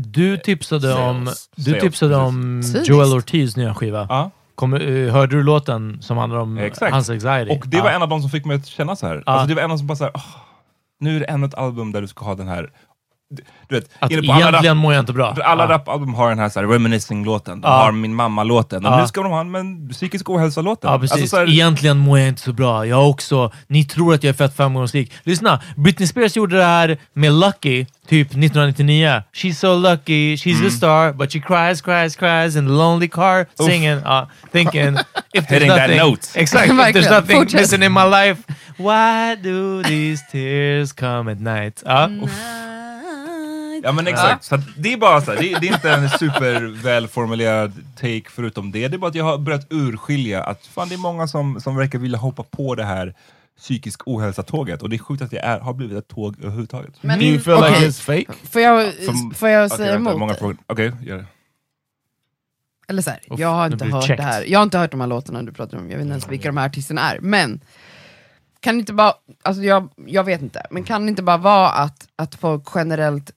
Speaker 4: Du tipsade om,
Speaker 6: Sales.
Speaker 4: du
Speaker 6: Sales,
Speaker 4: tipsade
Speaker 6: precis.
Speaker 4: om
Speaker 2: Psykiskt.
Speaker 4: Joel Ortiz nya skiva.
Speaker 6: Ja.
Speaker 4: Kommer- eh, hörde du låten som handlar om
Speaker 6: Exakt.
Speaker 4: Mm. hans anxiety?
Speaker 6: Och det var en av de som fick mig att känna så här. Alltså, det var en av som bara så här, "Åh, nu är det ännu ett album där du ska ha den här... Du vet,
Speaker 4: Att
Speaker 6: inne på alla
Speaker 4: egentligen
Speaker 6: rap-
Speaker 4: mår jag inte bra.
Speaker 6: alla
Speaker 4: Ja.
Speaker 6: rapalbum har den här, så här reminiscing-låten, de
Speaker 4: Ja.
Speaker 6: har min mamma-låten, och
Speaker 4: Ja.
Speaker 6: nu ska de ha en men, psykisk ohälsa-låten.
Speaker 4: Ja, precis.
Speaker 6: Alltså, så här,
Speaker 4: Egentligen mår jag inte så bra. Jag har också... Ni tror att jag är fett framgångsrik. Lyssna! Britney Spears gjorde det här med Lucky, typ 1999. She's so lucky, she's a star, but she cries, cries, cries in the lonely car, singing, ja, thinking... If there's
Speaker 6: Hitting that
Speaker 4: nothing,
Speaker 6: note.
Speaker 4: Exakt! if
Speaker 2: Verkligen.
Speaker 4: there's nothing
Speaker 2: Fortsätt.
Speaker 4: missing in my life. Why do these tears come at night? Ja.
Speaker 6: Mm. Ja men exakt, så att det är bara så här, det, det är inte en supervälformulerad take förutom det. Det är bara att jag har börjat urskilja att fan det är många som, som verkar vilja hoppa på det här psykisk ohälsa-tåget och det är sjukt att det är, har blivit ett tåg överhuvudtaget.
Speaker 2: Men-
Speaker 1: Do you feel like
Speaker 2: Okej.
Speaker 1: it's fake?
Speaker 2: Får jag,
Speaker 6: Som-
Speaker 2: får jag
Speaker 6: Okej,
Speaker 2: säga
Speaker 6: vänta,
Speaker 2: emot?
Speaker 6: många frågor. Okej, gör det.
Speaker 2: Eller så här,
Speaker 4: Uff,
Speaker 2: jag har
Speaker 4: nu
Speaker 2: inte
Speaker 4: blir det
Speaker 2: hört
Speaker 4: käckt.
Speaker 2: det här. Jag har inte hört de här låtarna du pratar om, jag vet inte ens vilka de här artisterna är. Men, kan det inte bara, alltså jag, jag vet inte, men kan det inte bara vara att, att folk generellt,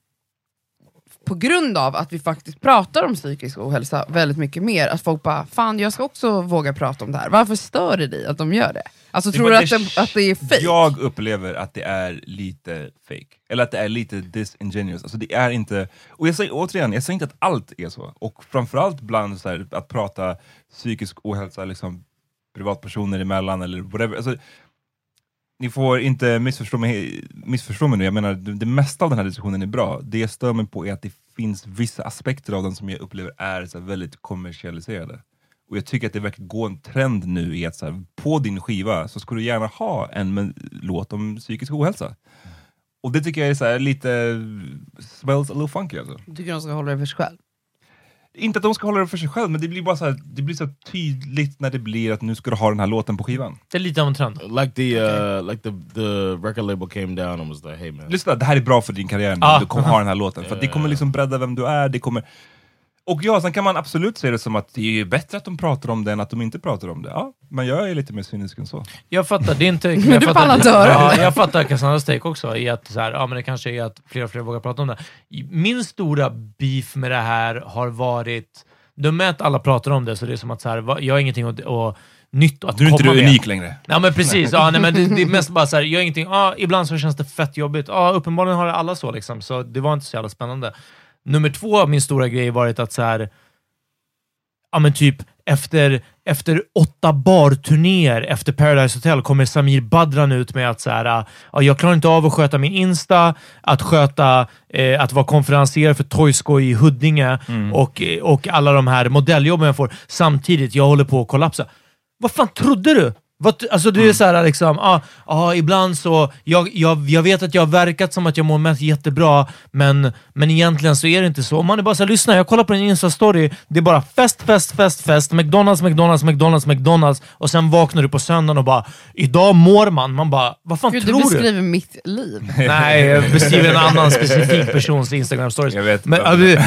Speaker 2: på grund av att vi faktiskt pratar om psykisk ohälsa väldigt mycket mer, att folk bara, fan jag ska också våga prata om det här. Varför stör det dig att de gör det? Alltså tror du
Speaker 6: var-
Speaker 2: att det, att det är fejk?
Speaker 6: Jag upplever att det är lite fake. Eller att det är lite disingenuous. Alltså det är inte... Och jag säger återigen, jag säger inte att allt är så. Och framförallt bland så här, att prata psykisk ohälsa liksom, privatpersoner emellan eller whatever. Alltså, ni får inte missförstå mig, missförstå mig nu, jag menar det, det mesta av den här diskussionen är bra. Det jag stör mig på är att det finns vissa aspekter av den som jag upplever är så här, väldigt kommersialiserade. Och jag tycker att det verkar gå en trend nu i att så här, på din skiva så ska du gärna ha en men, låt om psykisk ohälsa. Och det tycker jag är så här, lite eh, smells a little funky alltså.
Speaker 2: Tycker de ska hålla det för sig själv?
Speaker 6: Inte att de ska hålla det för sig själv, men det blir bara så här, det blir så här tydligt när det blir att nu ska du ha den här låten på skivan.
Speaker 4: Det är lite av en trend.
Speaker 1: Like the uh, like the the record label came down and was like, hey man.
Speaker 6: Lyssna, det här är bra för din karriär nu,
Speaker 1: Ah.
Speaker 6: du kommer ha den här låten. För att det kommer
Speaker 4: Eh.
Speaker 6: liksom bredda vem du är, det kommer... Och ja, sen kan man absolut se det som att det är ju bättre att de pratar om det än att de inte pratar om det. Ja, men jag är lite mer cynisk än så.
Speaker 4: Jag fattar
Speaker 6: [LAUGHS]
Speaker 4: din
Speaker 2: [LAUGHS]
Speaker 4: take.
Speaker 6: Du
Speaker 4: jag
Speaker 6: pallar
Speaker 4: fattar,
Speaker 6: inte höra.
Speaker 4: ja,
Speaker 6: [LAUGHS]
Speaker 4: jag fattar Cassandras take också, i att så här, ja, men det kanske är att fler och fler vågar prata om det. Min stora beef med det här har varit, du med att alla pratar om det, så det är som att så här, va- jag har ingenting att, att nytt att
Speaker 6: Nu är inte
Speaker 4: komma
Speaker 6: du
Speaker 4: med.
Speaker 6: unik längre.
Speaker 4: Ja men precis,
Speaker 6: Nej.
Speaker 4: ja, nej, men det, det är mest bara så här, jag har ingenting, ja, ibland så känns det fett jobbigt. Ja, uppenbarligen har alla så liksom, så det var inte så jävla spännande. Nummer två av min stora grej varit att så här, ja men typ efter, efter åtta barturnéer efter Paradise Hotel kommer Samir Badran ut med att så här, ja, jag klarar inte av att sköta min Insta, att sköta, eh, att vara konferensier för Toyskoj i Huddinge och, eh, och alla de här modelljobben jag får. Samtidigt, jag håller på att kollapsa. Vad fan trodde du? Vad, t- alltså det är så här liksom, ah, ah, ibland så, jag, jag, jag vet att jag har verkat som att jag mår mest jättebra, men, men egentligen så är det inte så. Om man är bara såhär, lyssna, jag kollar på din Insta-story, det är bara fest, fest, fest, fest, McDonalds, McDonalds, McDonalds, McDonalds, och sen vaknar du på söndagen och bara, idag mår man. Man bara, vad fan
Speaker 2: Gud, du
Speaker 4: tror du?
Speaker 2: beskriver mitt liv.
Speaker 4: Nej, jag beskriver [LAUGHS] en annan specifik persons Instagram-stories. Jag vet. Men,
Speaker 6: inte.
Speaker 4: och, det,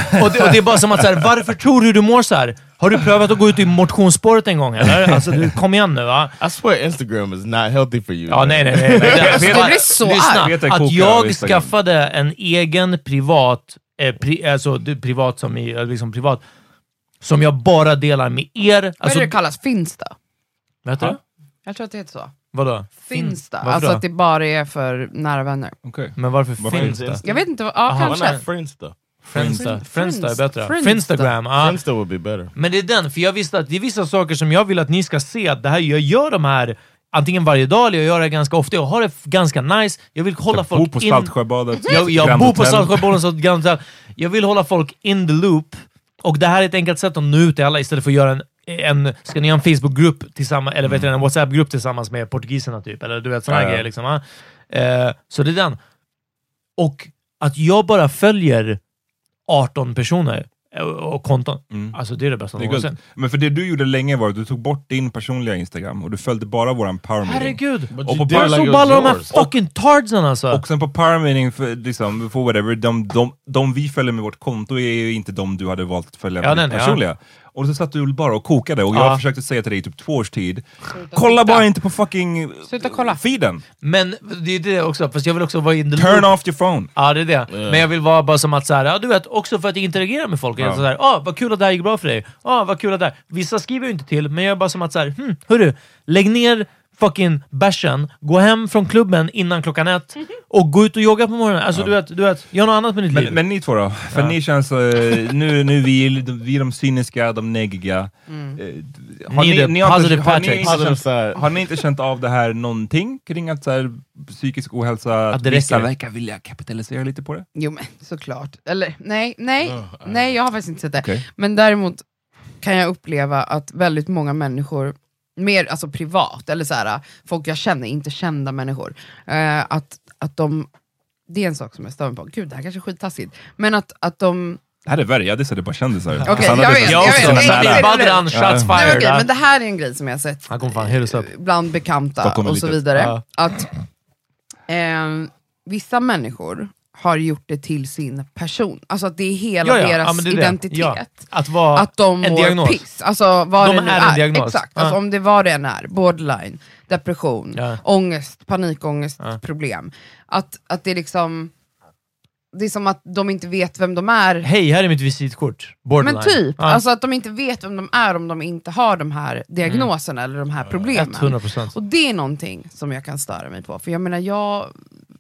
Speaker 4: och det är bara som att, så här, varför tror du du mår så här? Har du prövat att gå ut i motionsspåret en gång eller? Alltså, du, kom igen nu va?
Speaker 1: I swear Instagram is not healthy for you.
Speaker 4: Ja, nej, nej, nej. nej. Lyssna,
Speaker 1: Peter
Speaker 4: Lyssna,
Speaker 1: kokar
Speaker 4: att
Speaker 1: av
Speaker 4: jag
Speaker 1: Instagram.
Speaker 4: skaffade en egen privat, eh, pri, alltså du, privat som i, eh, liksom privat, som jag bara delar med er.
Speaker 2: Vad är
Speaker 4: Alltså,
Speaker 2: det det kallas? Finsta?
Speaker 4: vet du?
Speaker 2: Jag tror att det heter så.
Speaker 4: Vadå?
Speaker 2: Finsta.
Speaker 4: Varför
Speaker 2: Alltså
Speaker 4: då?
Speaker 2: att det bara är för nära vänner.
Speaker 4: Men varför,
Speaker 1: Varför
Speaker 4: finns
Speaker 1: inte
Speaker 4: det?
Speaker 1: Insta?
Speaker 2: Jag vet inte, vad- ja
Speaker 4: Aha,
Speaker 2: kanske.
Speaker 4: vad är det?
Speaker 1: Friendster.
Speaker 4: Friendster. Friendster är bättre.
Speaker 2: Friendster.
Speaker 4: Friendstagram. ah.
Speaker 1: Friendster would be better.
Speaker 4: Men det är den, för jag visste att det är vissa saker som jag vill att ni ska se. Att det här, jag gör de här antingen varje dag eller jag gör det ganska ofta. Jag har det f- ganska nice. Jag vill hålla
Speaker 6: Jag
Speaker 4: folk
Speaker 6: bor på
Speaker 4: in...
Speaker 6: Saltsjöbadet,
Speaker 4: Jag, jag
Speaker 6: Grand
Speaker 4: bor på
Speaker 6: Hotel.
Speaker 4: Saltsjöbaden, så Grand Hotel. Jag vill hålla folk in the loop. Och det här är ett enkelt sätt att nå ut till alla istället för att göra en en, ska ni ha en Facebookgrupp tillsammans, eller vet du, en WhatsApp-grupp tillsammans med portugiserna typ, eller du vet sådana
Speaker 6: Ja, ja.
Speaker 4: grejer. Liksom, ah. eh, så det är den. Och att jag bara följer 18 personer eh, och konton. Alltså det är det bästa
Speaker 6: Mm. Det är
Speaker 4: någonsin.
Speaker 6: guld. Men för det du gjorde länge var att du tog bort din personliga Instagram och du följde bara våran power meeting.
Speaker 4: Herregud!
Speaker 6: Och på
Speaker 4: Jag
Speaker 6: Power-
Speaker 4: såg på alla de här fucking tardsen alltså!
Speaker 6: Och sen på power meeting, för, liksom, for whatever, de, de, de vi följer med vårt konto är ju inte de du hade valt att följa
Speaker 4: Ja,
Speaker 6: med ditt
Speaker 4: nej, nej,
Speaker 6: personliga. Och så satt du bara och kokade och
Speaker 4: Ja.
Speaker 6: jag försökte säga till dig i typ två års tid, kolla bara inte på fucking
Speaker 2: Sluta kolla.
Speaker 6: feeden!
Speaker 4: Men det är det också, fast jag vill också vara in the
Speaker 6: Turn
Speaker 4: loop.
Speaker 6: off your phone!
Speaker 4: Ja, det är det. Men jag vill vara bara som att, så här, ja, du vet, också för att interagera med folk.
Speaker 6: Ja.
Speaker 4: Ja. Så här, ah, vad kul att det här gick bra för dig. Ah, vad kul att det här. Vissa skriver ju inte till, men jag är bara som att, så här, hm, hörru, lägg ner fucking bärsen, gå hem från klubben innan klockan ett och gå ut och jogga på morgonen. Alltså du vet, du vet, gör något annat med ditt liv.
Speaker 6: Men, men ni två då? För
Speaker 4: Mm. Ja.
Speaker 6: ni känns... eh, nu, nu vi, vi är de cyniska, de neggiga.
Speaker 2: Mm.
Speaker 6: Eh, Har
Speaker 4: Ni är
Speaker 6: ni,
Speaker 4: the
Speaker 6: ni, har inte,
Speaker 4: positive
Speaker 6: har, ni
Speaker 4: Patricks.
Speaker 6: inte
Speaker 4: Positive
Speaker 6: känt, har ni inte känt av det här någonting kring att så här, psykisk ohälsa,
Speaker 4: Att det
Speaker 6: vissa
Speaker 4: räcker.
Speaker 6: verkar vilja kapitalisera lite på det?
Speaker 2: Jo men såklart. Eller nej, nej,
Speaker 4: äh.
Speaker 2: nej jag har faktiskt inte sett det.
Speaker 6: Okej.
Speaker 2: Men däremot kan jag uppleva att väldigt många människor, mer alltså privat, eller så här, folk jag känner, inte kända människor, eh, att, att de, det är en sak som jag stör mig på, gud det här kanske är skittaskigt, men att, att de
Speaker 6: Det här är värre, jag dissade bara kändisar.
Speaker 2: Okej, jag vet, jag vet. Jag vet, jag vet. Badran, shots Nej, men, okej, men det här är en grej som jag har sett
Speaker 4: Han kommer fan hyllas upp.
Speaker 2: bland bekanta
Speaker 4: Stockholm är
Speaker 2: och så
Speaker 4: litet.
Speaker 2: vidare.
Speaker 4: Ja.
Speaker 2: Att eh, vissa människor har gjort det till sin person. Alltså att det är hela deras
Speaker 4: men det är det.
Speaker 2: identitet.
Speaker 4: Ja. Att vara
Speaker 2: Att de
Speaker 4: en
Speaker 2: mår
Speaker 4: diagnos.
Speaker 2: piss. Alltså vad
Speaker 4: De
Speaker 2: det nu
Speaker 4: är en diagnos.
Speaker 2: Exakt,
Speaker 4: Ja.
Speaker 2: alltså, om det var det än är. Borderline, depression,
Speaker 4: Ja.
Speaker 2: ångest, panikångestproblem. Att, att det är liksom, det är som att de inte vet vem de är
Speaker 4: Hej, här är mitt visitkort. Borderline.
Speaker 2: men typ,
Speaker 4: Ja.
Speaker 2: alltså att de inte vet vem de är om de inte har de
Speaker 6: Mm.
Speaker 2: här diagnoserna eller de här problemen.
Speaker 4: 100%.
Speaker 2: Och det är någonting som jag kan störa mig på, för jag menar jag,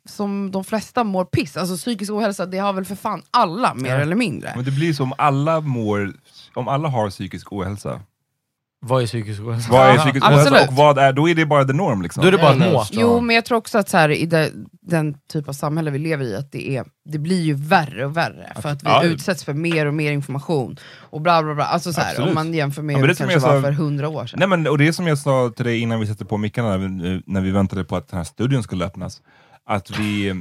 Speaker 2: som de flesta mår piss, alltså psykisk ohälsa det har väl för fan alla mer
Speaker 6: Ja.
Speaker 2: eller mindre.
Speaker 6: Men det blir som om alla mår, om alla har psykisk ohälsa,
Speaker 4: Vad är psykisk ohälsa?
Speaker 6: Vad är psykisk
Speaker 2: Absolut.
Speaker 6: ohälsa och vad är, då är det bara the norm liksom.
Speaker 4: Då är det bara att må.
Speaker 2: Jo, men jag tror också att så här, i det, den typ av samhälle vi lever i, att det, är, det blir ju värre och värre. För att vi
Speaker 6: Ja.
Speaker 2: utsätts för mer och mer information. Och bla bla bla. Alltså så här,
Speaker 6: Absolut.
Speaker 2: om man jämför med
Speaker 6: Ja, men
Speaker 2: hur
Speaker 6: det
Speaker 2: det
Speaker 6: som
Speaker 2: kanske
Speaker 6: jag
Speaker 2: var
Speaker 6: sa-
Speaker 2: för hundra år sedan.
Speaker 6: Nej, men, och det är som jag sa till dig innan vi satte på mickarna, när vi, när vi väntade på att den här studion skulle öppnas, att vi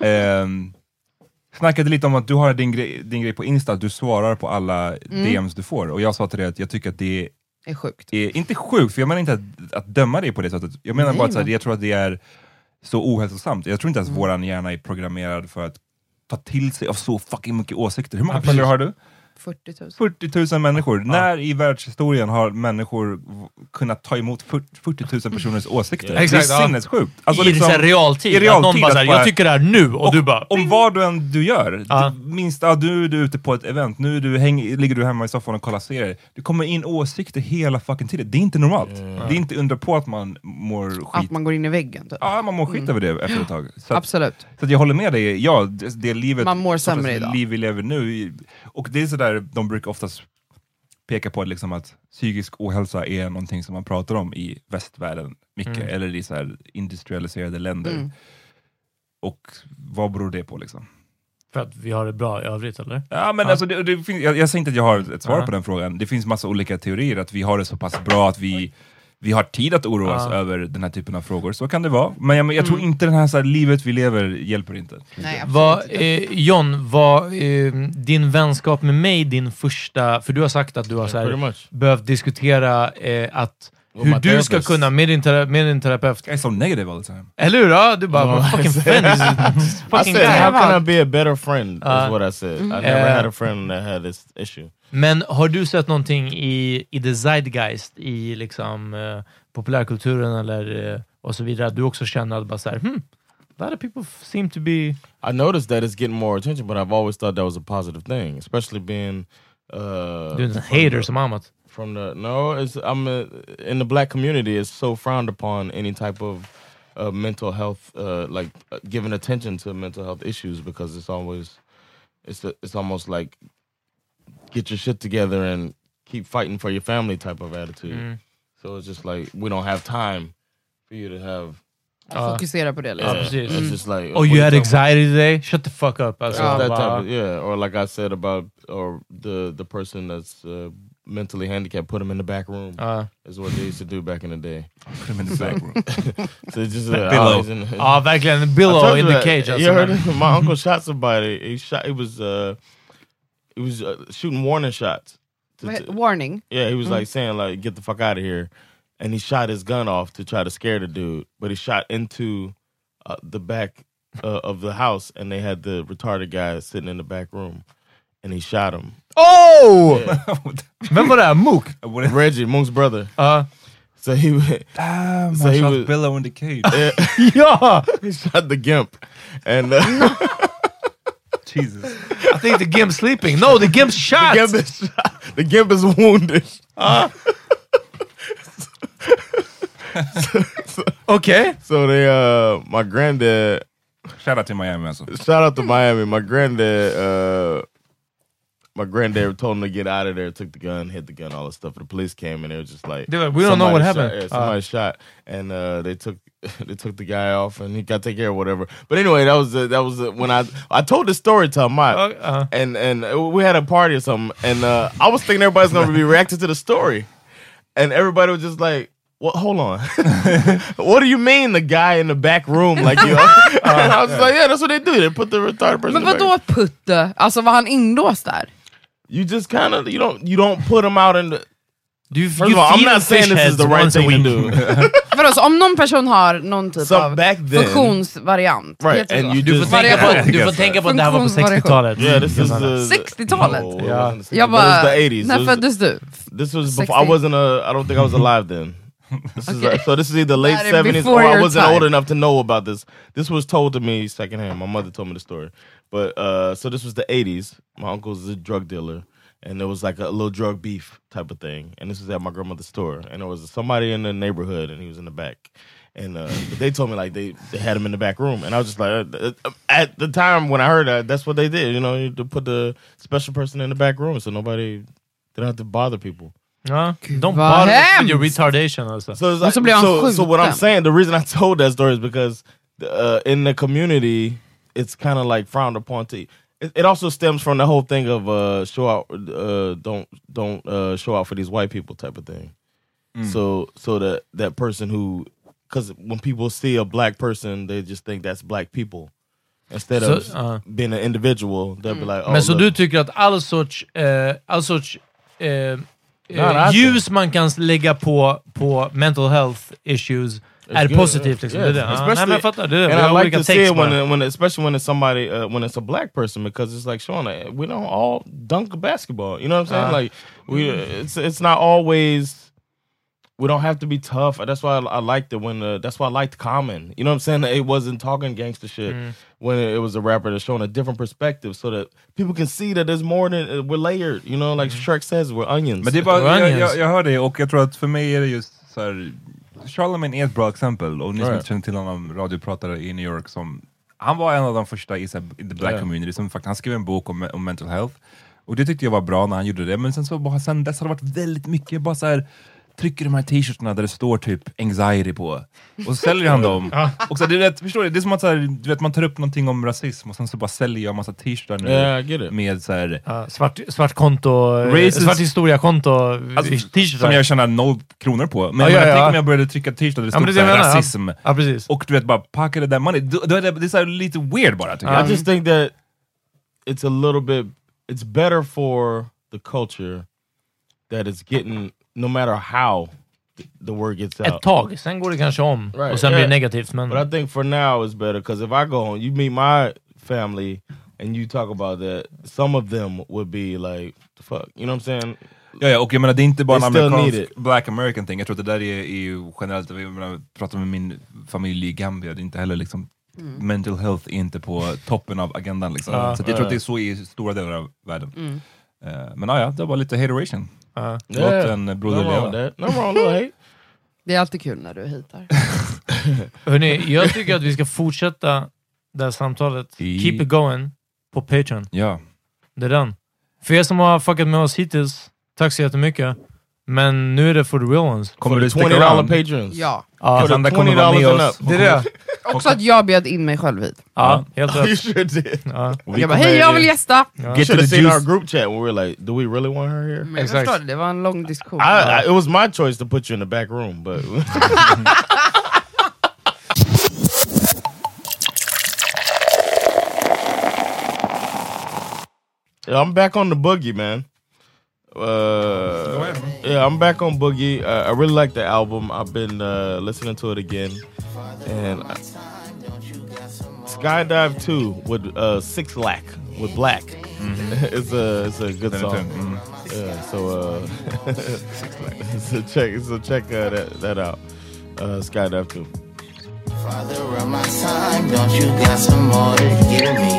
Speaker 6: ehm, snackade lite om att du har din grej, din grej på Insta, att du svarar på
Speaker 2: Mm.
Speaker 6: alla DMs du får. Och jag sa till dig att jag tycker att det
Speaker 2: Det är sjukt.
Speaker 6: är, inte sjukt, för jag menar inte att, att döma dig på det sättet. Jag menar
Speaker 2: Nej,
Speaker 6: bara att så här,
Speaker 2: men-
Speaker 6: jag tror att det är så ohälsosamt. Jag tror inte att våran hjärna är programmerad för att ta till sig av så fucking mycket åsikter. Hur många
Speaker 4: Absolut.
Speaker 6: följare har du?
Speaker 2: 40 000.
Speaker 6: 40 000 människor. När i världshistorien har människor v- kunnat ta emot 40 40 000 personers åsikter?
Speaker 4: Exakt,
Speaker 6: det är
Speaker 4: ja.
Speaker 6: sinnessjukt.
Speaker 4: I liksom, realtid.
Speaker 6: Alltså i
Speaker 4: att någon bara
Speaker 6: att
Speaker 4: såhär, jag tycker det här nu, och,
Speaker 6: Och
Speaker 4: du bara...
Speaker 6: Om vad du än du gör,
Speaker 4: Ja.
Speaker 6: du, minst, ja, du, du är ute på ett event, nu är du häng, ligger du hemma i soffan och kollar serier. Det kommer in åsikter hela fucking tiden. Det är inte normalt. Det är inte undra på att man mår skit.
Speaker 2: Att man går in i väggen. Typ.
Speaker 6: Ja, man mår skit över det efter ett tag. Så att-
Speaker 2: Absolut.
Speaker 6: så att jag håller med dig, ja, det, det livet
Speaker 2: Man mår
Speaker 6: sortens
Speaker 2: sämre idag.
Speaker 6: liv vi lever nu. Och det är sådär, de brukar oftast peka på liksom att psykisk ohälsa är någonting som man pratar om i västvärlden mycket,
Speaker 4: Mm.
Speaker 6: eller i så här industrialiserade länder.
Speaker 2: Mm.
Speaker 6: Och vad beror det på liksom?
Speaker 4: För att vi har det bra i övrigt, eller?
Speaker 6: Ja, men
Speaker 4: Ja.
Speaker 6: Alltså, det, det finns, jag, jag säger inte att jag har ett svar
Speaker 4: Ja.
Speaker 6: på den frågan. Det finns massa olika teorier, att vi har det så pass bra att vi, vi har tid att oroa oss
Speaker 4: Ja.
Speaker 6: över den här typen av frågor. Så kan det vara. Men jag, men jag tror inte det här, så här livet vi lever hjälper inte.
Speaker 2: Mm. Nej, absolut
Speaker 4: Vad,
Speaker 2: inte.
Speaker 4: eh, John, var eh, din vänskap med mig din första... För du har sagt att du har så
Speaker 1: Pretty
Speaker 4: här,
Speaker 1: much.
Speaker 4: behövt diskutera eh, att
Speaker 1: my
Speaker 4: hur du ska
Speaker 1: therapist.
Speaker 4: kunna, med din, tera, med din terapeut,
Speaker 6: Jag är så negativ all the time.
Speaker 4: eller hur? Ja, du bara,
Speaker 1: Ja,
Speaker 4: fucking
Speaker 1: exakt.
Speaker 4: friend is
Speaker 1: I
Speaker 4: fucking
Speaker 1: said,
Speaker 4: guy.
Speaker 1: how can I be a better friend?
Speaker 4: Uh,
Speaker 1: is what I said. I never
Speaker 4: Uh,
Speaker 1: had a friend that had this issue.
Speaker 4: Men har du sett någonting i, i the zeitgeist, i liksom, eh, populärkulturen eller eh, och så vidare, att du också känner att bara så här, hmm, a lot of people f- seem to be...
Speaker 1: I noticed that it's getting more attention, but I've always thought that was a positive thing, especially being uh,
Speaker 4: Du är en
Speaker 1: from
Speaker 4: hater
Speaker 1: the-
Speaker 4: som Amat.
Speaker 1: from the no. It's I'm uh in the black community. It's so frowned upon any type of uh, mental health, uh, like uh, giving attention to mental health issues because it's always it's a, it's almost like get your shit together and keep fighting for your family type of attitude. So it's just like we don't have time for you to have.
Speaker 2: Fokusera på det. Liksom.
Speaker 4: Ja,
Speaker 1: Yeah,
Speaker 4: precis.
Speaker 1: It's just like
Speaker 4: Oh
Speaker 1: what
Speaker 4: you had
Speaker 1: talking about?
Speaker 4: anxiety today? Shut the fuck up. Alltså,
Speaker 1: It's that
Speaker 4: bara,
Speaker 1: type of- yeah, or like I said about or the the person that's uh, mentally handicapped, put them in the back room.
Speaker 4: ja.
Speaker 1: is what they used to do back in the day.
Speaker 6: Put him in the back room.
Speaker 1: So it's just
Speaker 6: Pillow.
Speaker 1: always in-
Speaker 4: Ja, verkligen.
Speaker 1: I told
Speaker 4: Billow
Speaker 1: you
Speaker 4: in the
Speaker 1: that.
Speaker 4: cage. Alltså,
Speaker 1: You heard
Speaker 4: men-
Speaker 1: it? my uncle shot somebody. He shot. He was uh, he was uh, shooting warning shots. to-
Speaker 2: Vad he-
Speaker 1: to-
Speaker 2: Warning.
Speaker 1: yeah, he was like saying like get the fuck out of here, and he shot his gun off to try to scare the dude, but he shot into uh, the back uh, of the house, and they had the retarded guy sitting in the back room, and he shot him.
Speaker 4: [LAUGHS] Oh! Vem var det
Speaker 1: [LAUGHS]
Speaker 4: här? Mook?
Speaker 6: [LAUGHS]
Speaker 1: Reggie Monk's brother.
Speaker 4: Ja.
Speaker 1: So he
Speaker 6: Damn,
Speaker 1: So
Speaker 6: I
Speaker 1: he
Speaker 6: shot
Speaker 1: [LAUGHS] was-
Speaker 6: Billow in the cage.
Speaker 4: ja!
Speaker 1: he shot the gimp, and. Uh,
Speaker 6: Jesus.
Speaker 4: I think the gimp's sleeping. No, the gimp's shot!
Speaker 1: Gimp is, [LAUGHS] the Gimp is wounded.
Speaker 4: Okej.
Speaker 1: So they, uh, my granddad,
Speaker 6: Shout out till Miami alltså.
Speaker 1: shout out to Miami. My granddad, uh, my granddad told him to get out of there. Took the gun, hit the gun, all this stuff. The police came and they were just like,
Speaker 4: They were like, "We don't know what
Speaker 1: somebody
Speaker 4: happened."
Speaker 1: Shot, yeah, somebody shot, and uh, they took [LAUGHS] they took the guy off, and he got taken care of whatever. But anyway, that was uh, that was uh, when I I told this story to my
Speaker 4: Okay, uh-huh.
Speaker 1: and and we had a party or something, and uh, I was thinking everybody's gonna be reacting to the story, and everybody was just like. Well, hold on. [LAUGHS] what do you mean the guy in the back room? Like [LAUGHS] you, and I was like, yeah, that's what they do. They put the retarded person.
Speaker 2: Men
Speaker 1: in the back
Speaker 2: vadå putte? Alltså var han inlåst där?
Speaker 1: you just kind of you don't you don't put them out in the.
Speaker 4: Du,
Speaker 1: First of all, I'm not saying this is the right thing to do,
Speaker 2: Vadå, så om någon person har någon
Speaker 1: [LAUGHS]
Speaker 2: typ
Speaker 1: Some
Speaker 2: av
Speaker 1: back then-
Speaker 2: funktionsvariant.
Speaker 1: right?
Speaker 2: heter det
Speaker 1: and
Speaker 2: så?
Speaker 1: you
Speaker 4: Du får
Speaker 1: just
Speaker 4: tänka på,
Speaker 2: Variation.
Speaker 4: du får tänka på att det här var på
Speaker 2: Funktionsvariation.
Speaker 4: 60-talet.
Speaker 1: yeah, this is [LAUGHS] the
Speaker 2: 60-talet.
Speaker 1: No,
Speaker 4: Yeah.
Speaker 1: yeah. This
Speaker 2: Jag bara,
Speaker 1: was the 80s.
Speaker 2: när
Speaker 1: This was,
Speaker 2: föddes du?
Speaker 1: this was before I
Speaker 2: 60?
Speaker 1: wasn't a. I don't think I was alive then. This is
Speaker 2: Okay.
Speaker 1: so this is either late
Speaker 2: Got it,
Speaker 1: seventies
Speaker 2: before
Speaker 1: or I
Speaker 2: your
Speaker 1: wasn't
Speaker 2: time.
Speaker 1: old enough to know about this. This was told to me secondhand. My mother told me the story, but uh, so this was the eighties. My uncle's a drug dealer, and there was like a little drug beef type of thing. And this was at my grandmother's store, and there was somebody in the neighborhood, and he was in the back. And uh, but they told me like they, they had him in the back room, and I was just like, uh, uh, at the time when I heard that, that's what they did. You know, you put the special person in the back room, so nobody they don't have to bother people.
Speaker 4: Ja.
Speaker 1: vad
Speaker 4: Don't bother us
Speaker 1: hemskt!
Speaker 4: with your retardation alltså.
Speaker 1: So, it's like- so, so what I'm saying, the reason I told that story is because uh, in the community, it's kind of like frowned upon. To it, it also stems from the whole thing of uh, show out, uh, don't don't uh, show out for these white people type of thing.
Speaker 8: Mm.
Speaker 1: So so that that person who, because when people see a black person, they just think that's black people instead of
Speaker 4: So, uh.
Speaker 1: being an individual. They'll be like, oh,
Speaker 4: Men så
Speaker 1: look.
Speaker 4: du tycker att all sorts, eh, all sorts eh, eh,
Speaker 1: alltså.
Speaker 4: ljus man kan lägga på, på mental health issues är
Speaker 1: good,
Speaker 4: positivt. Liksom.
Speaker 1: yeah.
Speaker 4: Det är det. Ja, nej, men jag fattar. Det är det. Vi
Speaker 1: And I
Speaker 4: har
Speaker 1: like
Speaker 4: olika
Speaker 1: to see
Speaker 4: takes
Speaker 1: it when,
Speaker 4: bara.
Speaker 1: it- when, it- especially when it's somebody, uh, when it's a black person, because it's like Shauna, we don't all dunk basketball. You know what I'm saying?
Speaker 8: Uh.
Speaker 1: like we, it's it's not always. We don't have to be tough. That's why I, I liked it when. Uh, that's why I liked Common. You know what I'm saying? It wasn't talking gangster shit
Speaker 8: Mm.
Speaker 1: when it was a rapper that's showing a different perspective, so that people can see that there's more than uh, we're layered. You know, like Shrek says, we're onions.
Speaker 6: Men det är bara, jag, jag, jag hör dig och jag tror att för mig är det just så här. Charlemagne är ett bra exempel och ni som
Speaker 1: Right.
Speaker 6: inte känner till honom, radiopratare i New York som han var en av de första i, så här, in the black
Speaker 8: Ja.
Speaker 6: community som faktiskt, han skrev en bok om, om mental health och det tyckte jag var bra när han gjorde det men sen så bara, sen dess har det varit väldigt mycket bara så här trycker de här t-shirtarna där det står typ anxiety på och så säljer han dem. och så, här, det, är rätt- förstår du, det är som att så här, du vet, man tar upp någonting om rasism och sen så bara säljer jag en massa t-shirtar nu
Speaker 4: Ja, I
Speaker 6: med så här,
Speaker 4: Svart, svart konto, eh,
Speaker 6: Racist-
Speaker 4: svart historia-konto,
Speaker 6: Alltså,
Speaker 4: t-shirtar.
Speaker 6: som jag tjänar noll kronor på. Men
Speaker 4: Ja,
Speaker 6: jag
Speaker 4: ja,
Speaker 6: menar, tänk
Speaker 4: ja.
Speaker 6: om jag började trycka t-shirtar där det
Speaker 4: Ja,
Speaker 6: stod
Speaker 4: men det är det
Speaker 6: så här
Speaker 4: jag menar, ja.
Speaker 6: rasism. Och du vet, bara packade that money. Det, det, det är så här lite weird bara tycker
Speaker 1: I
Speaker 6: jag.
Speaker 1: just think that it's a little bit it's better for the culture that it's getting no matter how th- the word gets out.
Speaker 4: Ett tag, sen går det kanske om och sen blir det negativt. Men...
Speaker 1: But I think for now it's better because if I go home, you meet my family and you talk about that, some of them would be like, the fuck, you know what I'm saying?
Speaker 6: Ja, ja, och jag menar det är inte bara en
Speaker 1: They still need
Speaker 6: amerikansk
Speaker 1: it.
Speaker 6: black american thing. Jag tror att det där är, är ju generellt, jag menar, jag pratar med min familj i Gambia, det är inte heller liksom
Speaker 8: Mm.
Speaker 6: mental health är inte på toppen av agendan liksom.
Speaker 8: Ja.
Speaker 6: Så att jag tror att det är
Speaker 8: Ja.
Speaker 6: så i stora delar av världen.
Speaker 8: Mm.
Speaker 6: Eh, men ja, ja, det var lite hateration. Låt
Speaker 1: Yeah.
Speaker 6: en
Speaker 1: No
Speaker 6: broder
Speaker 1: wrong with
Speaker 6: leva.
Speaker 1: that. No wrong, no hate.
Speaker 2: Det är alltid kul när du hittar.
Speaker 4: Hörrni, jag tycker att vi ska fortsätta det här samtalet.
Speaker 6: I-
Speaker 4: Keep it going på Patreon.
Speaker 6: Ja.
Speaker 4: Det är den. För er som har fuckat med oss hittills, tack så jättemycket. Men nu är det for the real ones.
Speaker 6: Kommer
Speaker 1: For
Speaker 6: du
Speaker 1: the
Speaker 6: sticka
Speaker 1: $20
Speaker 6: around?
Speaker 1: patrons. Ja.
Speaker 4: Ja,
Speaker 1: For the
Speaker 4: Sandra kommer vara
Speaker 1: $20
Speaker 4: med
Speaker 1: and
Speaker 4: oss.
Speaker 1: up.
Speaker 4: Det är det.
Speaker 2: Också att jag bjöd in mig själv hit.
Speaker 4: Ja,
Speaker 6: [LAUGHS]
Speaker 4: helt
Speaker 1: [LAUGHS]
Speaker 4: rätt.
Speaker 1: You sure did.
Speaker 4: Ja.
Speaker 2: Jag bara, hej jag vill gästa!
Speaker 1: You should have seen our group chat when we were like, do we really want her here?
Speaker 2: Men jag förstår, det var en lång diskussion.
Speaker 1: I, I, it was my choice to put you in the back room, but [LAUGHS] yeah, I'm back on the boogie, man. Uh, yeah, I'm back on boogie. Uh, I really like the album. I've been uh, listening to it again, and I- Skydive Two with uh, Six Lack with Black. [LAUGHS] it's a it's a good
Speaker 8: Then it
Speaker 1: song.
Speaker 8: turned,
Speaker 1: Yeah, so uh, [LAUGHS] so check so check uh, that that out. Uh, Skydive Two.
Speaker 9: Father of my time, don't you got some more to give me?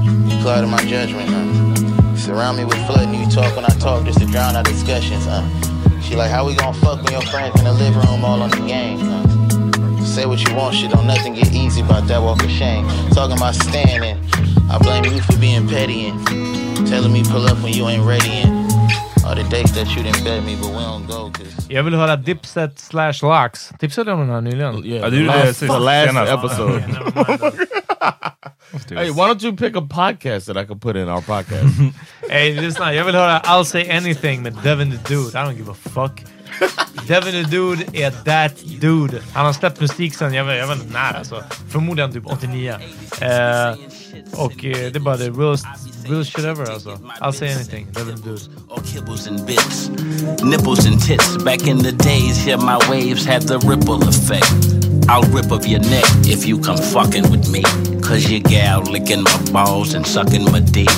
Speaker 9: You clouded my judgment, huh? Surround me with flood and you talk when I talk just to drown our discussions, huh? She like, how we gonna fuck when your friends in the living room all on the game, huh? Say what you want, shit, don't nothing get easy about that walk of shame. Talking about standing, I blame you for being petty and telling me pull up when you ain't ready and all the dates that you didn't bet me, but we don't go 'cause
Speaker 4: Jag vill höra Dipset slash Lax. Tipsade jag om den här nyligen?
Speaker 1: Ja, du gjorde det sist- the last senast. episode. [LAUGHS] Hey, why don't you pick a podcast that I could put in our podcast?
Speaker 4: Ey, lyssna. Jag vill höra I'll say anything med Devin the Dude. I don't give a fuck. Devin the Dude är that dude. Han har släppt musik sen, jag vet, jag vet inte när alltså. Förmodligen typ 89. Eh, och eh, det är bara det real, real shit ever alltså. I'll say anything. Devin the Dude.
Speaker 9: nipples and bits, nipples and tits. Back in the days, here my waves had the ripple effect. I'll rip up your neck if you come fucking with me. Cause your gal licking my balls and sucking my dick.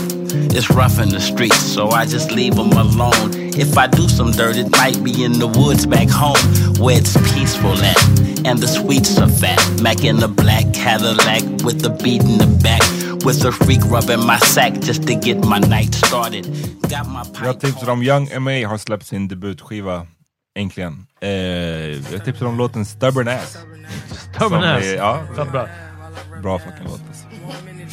Speaker 9: It's rough in the [LAUGHS] streets, so I just leave them alone. If I do some dirt, it might be in the woods back home where it's peaceful at. And the sweets are fat. Mac in the black Cadillac with the beat in the back. With a freak rubbing my sack just to get my night started. Got my
Speaker 6: Jag tipsar om Young M.A. har släppt sin debutskiva, äntligen. Eh, jag tipsar om låten Stubborn Ass.
Speaker 4: Stubborn
Speaker 6: Som
Speaker 4: Ass.
Speaker 6: är- Ja,
Speaker 4: Fan, bra.
Speaker 6: bra fucking låt. alltså.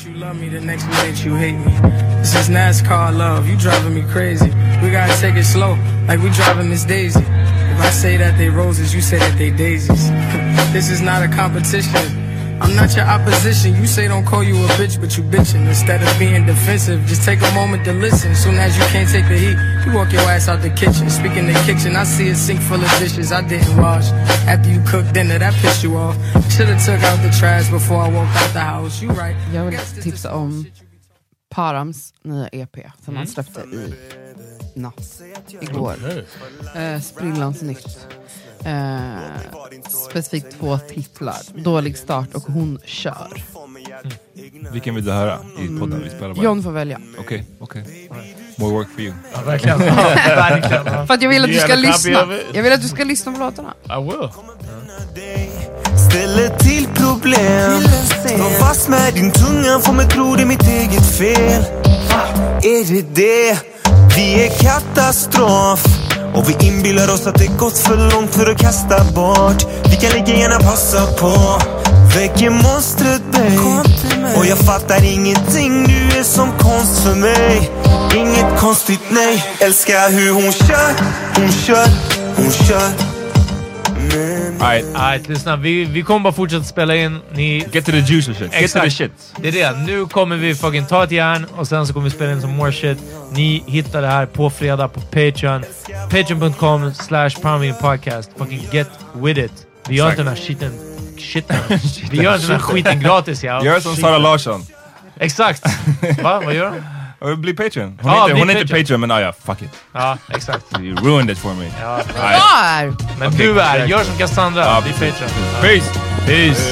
Speaker 10: you love me, the next minute you hate me. This is NASCAR love, you driving me crazy. We gotta take it slow, like we driving Miss Daisy. If I say that they roses, you say that they daisies. [LAUGHS] this is not a competition. I'm not your opposition. You say don't call you a bitch, but you bitching. Instead of being defensive, just take a moment to listen. Soon as you can't take the heat, you walk your ass out the kitchen. Speaking of kitchen, I see a sink full of dishes I didn't wash. After you cooked dinner, that pissed you off. Should've took out the trash before I walked out the house. You right.
Speaker 2: Jag vill tipsa om Params nya EP som han släppte i natt, igår. Eh, Sprillans nytt. Eh, specifikt två titlar. Dålig start och Hon kör.
Speaker 6: Vilken vill du höra i podden? Vi spelar bara.
Speaker 2: John får välja.
Speaker 6: Okej, okej. All right. More work for you. Ja,
Speaker 2: [LAUGHS]
Speaker 4: verkligen. Ja, verkligen.
Speaker 2: För att jag vill att du
Speaker 4: You
Speaker 2: ska
Speaker 4: have a copy
Speaker 2: lyssna.
Speaker 4: of it?
Speaker 2: Jag vill att du ska lyssna på låtarna.
Speaker 4: I will.
Speaker 5: Ställer till problem Står fast med din tunga, får mig tro det är mitt eget fel Är det det? Vi är katastrof och vi inbillar oss att det gått för långt för att kasta bort Vi kan lika gärna passa på Väcker monstret dig Och jag fattar ingenting, du är som konst för mig Inget konstigt, nej Älskar hur hon kör, hon kör, hon kör
Speaker 4: Alright, right, lyssna. Vi, vi kommer bara fortsätta spela in. Ni... Get to the juice shit.
Speaker 6: Get to the shit.
Speaker 4: Det är det. Nu kommer vi fucking ta ett järn och sen så kommer vi spela in some more shit. Ni hittar det här på fredag på Patreon. Patreon.com slash Palmvin podcast. Fucking get with it. Vi gör inte den här shiten...
Speaker 6: [LAUGHS]
Speaker 4: Shiten. vi gör inte den här skiten gratis ja.
Speaker 6: Gör som Sara Larsson.
Speaker 4: Exakt. Va? Vad
Speaker 6: [LAUGHS]
Speaker 4: gör hon?
Speaker 6: Ja, Bli Patreon. Hon
Speaker 4: Ja,
Speaker 6: heter,
Speaker 4: bli
Speaker 6: hon heter
Speaker 4: Patreon.
Speaker 6: Patreon, men ah, ja, fuck it.
Speaker 4: Ja, exakt.
Speaker 6: You ruined it for me.
Speaker 4: Ja,
Speaker 6: All right.
Speaker 4: Men
Speaker 6: Okej,
Speaker 4: du är.
Speaker 6: exakt.
Speaker 4: Gör som Cassandra. Bli Patreon.
Speaker 6: Peace. Peace.